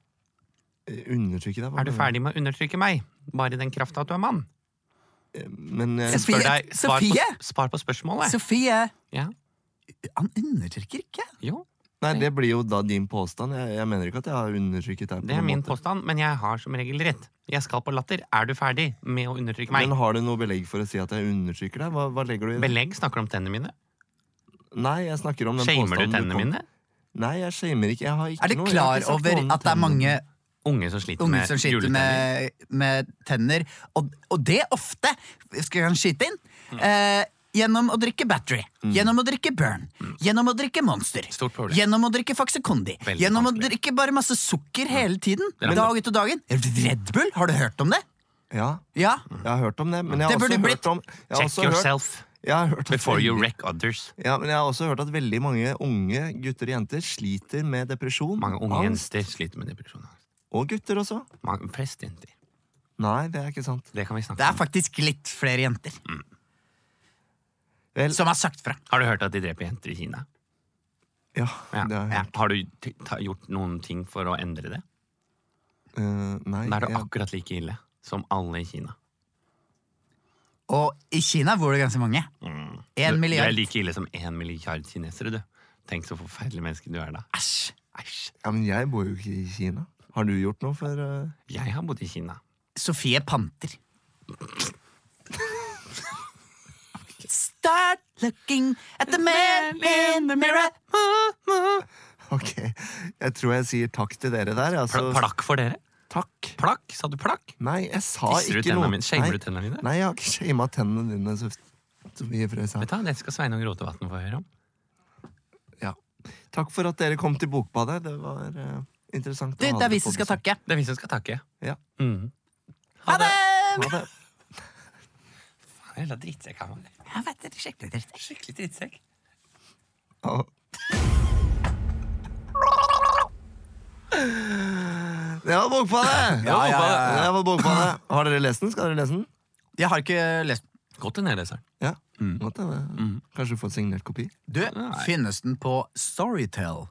Speaker 2: Undertrykke deg. hva
Speaker 1: Er du
Speaker 2: mener
Speaker 1: ferdig med å undertrykke meg? Bare i den krafta at du er mann.
Speaker 2: Men eh,
Speaker 1: Jeg spør
Speaker 3: Sofie,
Speaker 1: deg, svar på,
Speaker 3: Sofie?
Speaker 1: svar på spørsmålet.
Speaker 3: Sofie
Speaker 1: Ja,
Speaker 3: Han undertrykker ikke.
Speaker 1: jo.
Speaker 2: nei, det blir jo da din påstand. Jeg, jeg mener ikke at jeg har undertrykket deg. på
Speaker 1: Det er
Speaker 2: noen
Speaker 1: min
Speaker 2: måte.
Speaker 1: påstand, men jeg har som regel rett. Jeg skal på latter. Er du ferdig med å undertrykke meg?
Speaker 2: Men har du noe belegg for å si at jeg undertrykker deg? Hva, hva legger du i det?
Speaker 1: Belegg snakker om tennene mine.
Speaker 2: Nei, jeg snakker om den
Speaker 1: Shamer du
Speaker 2: påstanden
Speaker 1: tennene
Speaker 2: kom-
Speaker 1: mine?
Speaker 2: Nei, jeg shamer ikke. Jeg har ikke
Speaker 3: Er du
Speaker 2: noe- jeg har
Speaker 3: klar
Speaker 2: ikke sagt
Speaker 3: over
Speaker 2: noe om
Speaker 3: at det er
Speaker 2: tennene.
Speaker 3: mange
Speaker 1: Unge som sliter
Speaker 3: unge
Speaker 1: med
Speaker 3: som sliter
Speaker 1: juletenner.
Speaker 3: med, med tenner, og, og det ofte, skal jeg skyte inn,
Speaker 1: Mm.
Speaker 3: eh, gjennom å drikke Battery, gjennom å drikke Burn, gjennom å drikke Monster,
Speaker 1: Mm. Stort problem.
Speaker 3: gjennom å drikke Faxekondi,
Speaker 1: Veldig
Speaker 3: gjennom å
Speaker 1: vanskelig. Mm.
Speaker 3: drikke bare masse sukker hele tiden,
Speaker 1: Det er
Speaker 3: dag ut og dagen. Red Bull, har du hørt om det?
Speaker 2: Ja,
Speaker 3: Ja.
Speaker 1: Mm.
Speaker 2: jeg har hørt om det. Men jeg
Speaker 3: Det
Speaker 2: har
Speaker 3: burde
Speaker 2: også
Speaker 3: blitt-
Speaker 2: hørt om jeg har
Speaker 1: Check
Speaker 2: også hørt-
Speaker 1: yourself
Speaker 2: jeg har hørt at
Speaker 1: before you
Speaker 2: veldig-
Speaker 1: wreck others.
Speaker 2: Ja, men jeg har også hørt at veldig mange unge gutter og jenter sliter med depresjon.
Speaker 1: Mange unge
Speaker 2: angst,
Speaker 1: jenter sliter med depresjon. altså.
Speaker 2: Og gutter også.
Speaker 1: Mange- Flest jenter.
Speaker 2: Nei, det er ikke sant.
Speaker 1: Det kan vi snakke
Speaker 3: Det er
Speaker 1: om.
Speaker 3: faktisk litt flere jenter
Speaker 1: Mm.
Speaker 2: Vel,
Speaker 3: som har sagt fra.
Speaker 1: Har du hørt at de dreper jenter i Kina?
Speaker 2: ja,
Speaker 1: Ja.
Speaker 2: det er,
Speaker 1: Ja. Har du t- ta- gjort noen ting for å endre det?
Speaker 2: Eh, nei,
Speaker 1: Da er det
Speaker 2: jeg-
Speaker 1: akkurat like ille som alle i Kina.
Speaker 3: Og i Kina bor det ganske mange. En
Speaker 1: Du- Du
Speaker 3: milliard.
Speaker 1: Mm. er like ille som én milliard kinesere, du. Tenk så forferdelig menneske du er da.
Speaker 3: Æsj.
Speaker 1: Æsj.
Speaker 2: ja, men jeg bor jo ikke i Kina. Har du gjort noe for eh,
Speaker 1: Jeg har bodd i Kina.
Speaker 3: Sofie Panter. Start looking at the man in the mirror.
Speaker 2: Ok, jeg tror jeg sier takk til dere der.
Speaker 1: Pla
Speaker 2: Altså,
Speaker 1: plakk for dere?
Speaker 2: Takk.
Speaker 1: Plakk? Sa du plakk?
Speaker 2: Nei, jeg sa
Speaker 1: Tisser du
Speaker 2: ikke
Speaker 1: tennene
Speaker 2: noe.
Speaker 1: mine? Shamer du
Speaker 2: Nei.
Speaker 1: tennene dine?
Speaker 2: Nei, jeg har ikke shama tennene dine. Så, så mye for det jeg sa.
Speaker 1: Vet du, hva, Dette skal Sveinung Rotevatn få høre om.
Speaker 2: Ja. Takk for at dere kom til Bokbadet. Det var eh, interessant. å
Speaker 3: Du,
Speaker 2: ha
Speaker 3: det er
Speaker 2: dere
Speaker 3: vi
Speaker 2: på
Speaker 3: som skal
Speaker 2: besøk.
Speaker 3: takke.
Speaker 1: Det er vi som skal takke.
Speaker 2: Ja.
Speaker 1: Mm.
Speaker 3: Ha det!
Speaker 2: Ha det.
Speaker 1: Jævla drittsekk han var.
Speaker 3: Jeg vet det, skikkelig dritt.
Speaker 1: Skikkelig drittsekk.
Speaker 2: Ha det. Det var Bokbadet! Det
Speaker 3: Ja,
Speaker 2: var
Speaker 3: ja, ja, ja.
Speaker 2: Bokbadet. Det var Bokbadet. Har dere lest den? Skal dere lese den?
Speaker 3: Jeg har ikke lest
Speaker 1: Godt til nedleseren.
Speaker 2: Ja. Godt, det. Kanskje få en signert kopi?
Speaker 3: Du, finnes den på Storytel?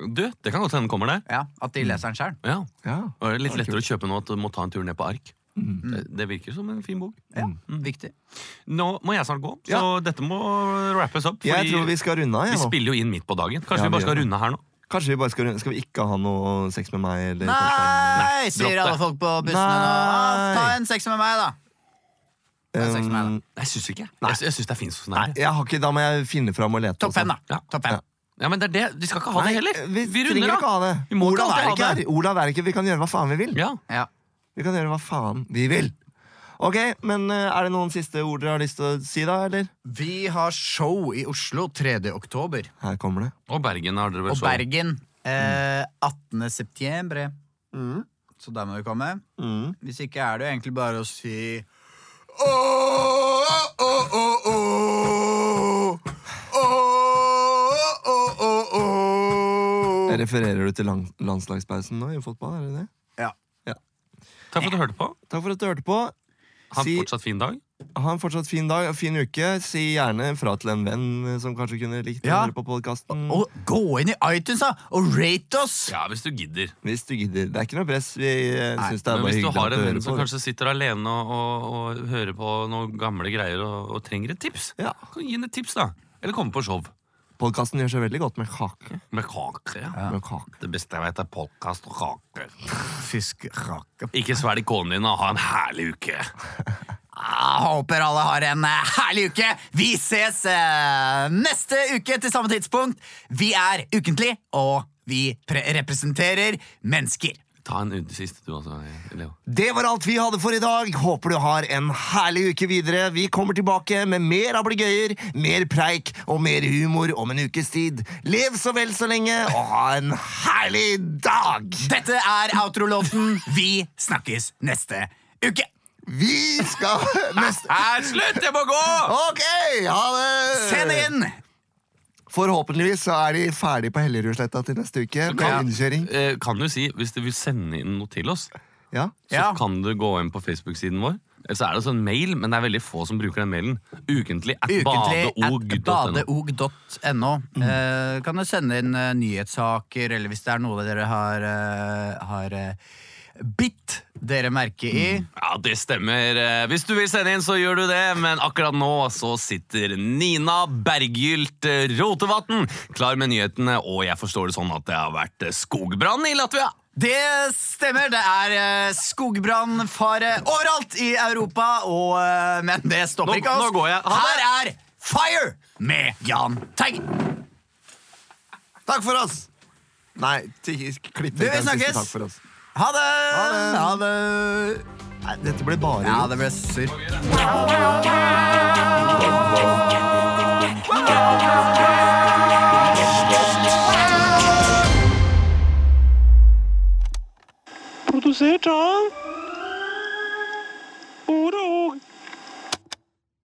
Speaker 1: Du, det kan godt hende den kommer der.
Speaker 3: Ja, at de leser den sjøl.
Speaker 1: Ja.
Speaker 2: Ja.
Speaker 1: Og det er litt lettere å kjøpe nå at du må ta en tur ned på ark.
Speaker 2: Mm.
Speaker 1: Det, det virker som en fin bok. Mm.
Speaker 3: Ja, viktig.
Speaker 1: Nå må jeg snart gå, så
Speaker 2: Ja.
Speaker 1: dette må wrappes opp.
Speaker 2: Jeg tror vi
Speaker 1: vi,
Speaker 2: skal runde av. jeg, nå.
Speaker 1: spiller jo inn midt på dagen. Kanskje
Speaker 2: Ja,
Speaker 1: vi bare
Speaker 2: vi
Speaker 1: skal
Speaker 2: gjør det.
Speaker 1: runde her nå?
Speaker 2: Kanskje vi bare skal runde Skal vi ikke ha noe sex med meg? Eller
Speaker 3: Nei,
Speaker 1: dropp
Speaker 3: sier
Speaker 1: det.
Speaker 3: alle folk på bussene nå. Ah,
Speaker 2: Nei.
Speaker 3: Ta en sex med meg, da. Ta en sex med meg, da.
Speaker 1: Jeg syns ikke. Jeg, sy- jeg syns det er fint sånn her.
Speaker 2: Um, Jeg har ikke, da må jeg finne fram og lete.
Speaker 3: Topp fem, da.
Speaker 1: Ja.
Speaker 3: Topp fem.
Speaker 1: Ja, men det er det. Vi skal ikke ha det heller.
Speaker 2: Vi,
Speaker 1: Vi
Speaker 2: trenger
Speaker 1: runder
Speaker 2: ikke
Speaker 1: av.
Speaker 2: ha det.
Speaker 1: Vi må ikke
Speaker 2: Olav
Speaker 1: alltid
Speaker 2: er
Speaker 1: ha
Speaker 2: ikke her.
Speaker 1: det.
Speaker 2: Olav er ikke Vi kan gjøre hva faen vi vil.
Speaker 1: Ja.
Speaker 3: Ja.
Speaker 2: Vi kan gjøre hva faen vi vil. Ok, men eh, Er det noen siste ord dere har lyst til å si, da? eller?
Speaker 3: Vi har show i Oslo 3. oktober.
Speaker 2: Her kommer det.
Speaker 1: Og Bergen har dere vel
Speaker 3: Og
Speaker 1: så.
Speaker 3: Bergen. Eh, 18. september.
Speaker 2: Mm.
Speaker 3: Så der må du komme.
Speaker 2: Mm.
Speaker 3: Hvis ikke er det jo egentlig bare å si Åh, åh, åh, åh, åh, åh, åh,
Speaker 2: Refererer du til lang- landslagspausen nå i fotball? er det det?
Speaker 1: Takk for at du hørte på.
Speaker 2: Takk for at du hørte på.
Speaker 1: Ha
Speaker 2: Si-
Speaker 1: en fortsatt fin dag.
Speaker 2: Ha en fortsatt fin dag og fin uke. Si gjerne fra til en venn eh, som kanskje kunne likt å
Speaker 3: Ja.
Speaker 2: høre på podkasten.
Speaker 3: Og gå inn i iTunes da, og rate oss!
Speaker 1: Ja, hvis du gidder.
Speaker 2: Hvis du gidder. Det er ikke noe press. Vi eh,
Speaker 3: Nei,
Speaker 2: synes det er
Speaker 1: Men
Speaker 2: bare
Speaker 1: hvis du
Speaker 2: hyggelig
Speaker 1: har
Speaker 2: at
Speaker 1: en
Speaker 2: du
Speaker 1: venn
Speaker 2: hører
Speaker 1: som
Speaker 2: på.
Speaker 1: kanskje sitter alene og, og, og hører på noen gamle greier og, og trenger et tips,
Speaker 2: Ja.
Speaker 1: kan du gi henne et tips, da. Eller komme på show.
Speaker 2: Podkasten gjør seg veldig godt med kake.
Speaker 1: Med kake.
Speaker 2: Med kake.
Speaker 1: Det beste jeg vet, er podkast og kake.
Speaker 3: Fisk rakke.
Speaker 1: Ikke svelg kona din, og ha en herlig uke.
Speaker 3: Ah, håper alle har en eh, herlig uke. Vi ses eh, neste uke til samme tidspunkt. Vi er ukentlig, og vi pre representerer mennesker.
Speaker 1: Ta en runde siste, du også, Leo.
Speaker 2: Det var alt vi hadde for i dag. Håper du har en herlig uke videre. Vi kommer tilbake med mer ablegøyer, mer preik og mer humor om en ukes tid. Lev så vel så lenge, og ha en herlig dag!
Speaker 3: Dette er outro-låten. Vi snakkes neste uke.
Speaker 2: Vi skal neste
Speaker 1: Er slutt! Jeg må gå!
Speaker 2: Ok, ha det!
Speaker 3: Send inn!
Speaker 2: Forhåpentligvis så er de ferdig på Hellerudsletta til neste uke med
Speaker 1: kan-
Speaker 2: innkjøring.
Speaker 1: Eh, kan du si, Hvis du vil sende inn noe til oss,
Speaker 2: Ja.
Speaker 1: så kan du gå inn på Facebook-siden vår. Eller så er det også en mail, men det er veldig få som bruker den mailen. Ukentlig at
Speaker 3: Ukentlig at
Speaker 1: badeog.no.
Speaker 3: badeog.no. Eh, kan du sende inn eh, nyhetssaker, eller hvis det er noe dere har, eh, har eh, bitt dere merke i.
Speaker 1: Ja, det stemmer. Eh, Hvis du vil sende inn, så gjør du det. Men akkurat nå så sitter Nina Berggylt eh, Rotevatn klar med nyhetene, og jeg forstår det sånn at det har vært eh, skogbrann i Latvia.
Speaker 3: Det stemmer! Det er eh, skogbrannfare overalt i Europa, og, eh, men det stopper
Speaker 1: Nå-
Speaker 3: ikke oss.
Speaker 1: nå går jeg. Ha
Speaker 3: Her er Fire med Jahn Teigen.
Speaker 2: Takk for oss! Nei, ti- klipp
Speaker 3: Vi
Speaker 2: vekk den siste
Speaker 3: snakkes.
Speaker 2: takk for oss.
Speaker 3: Ha det!
Speaker 2: Ha det.
Speaker 3: Ha det.
Speaker 2: Nei, dette ble bare
Speaker 3: Ja, det ble surr.
Speaker 7: Podcast.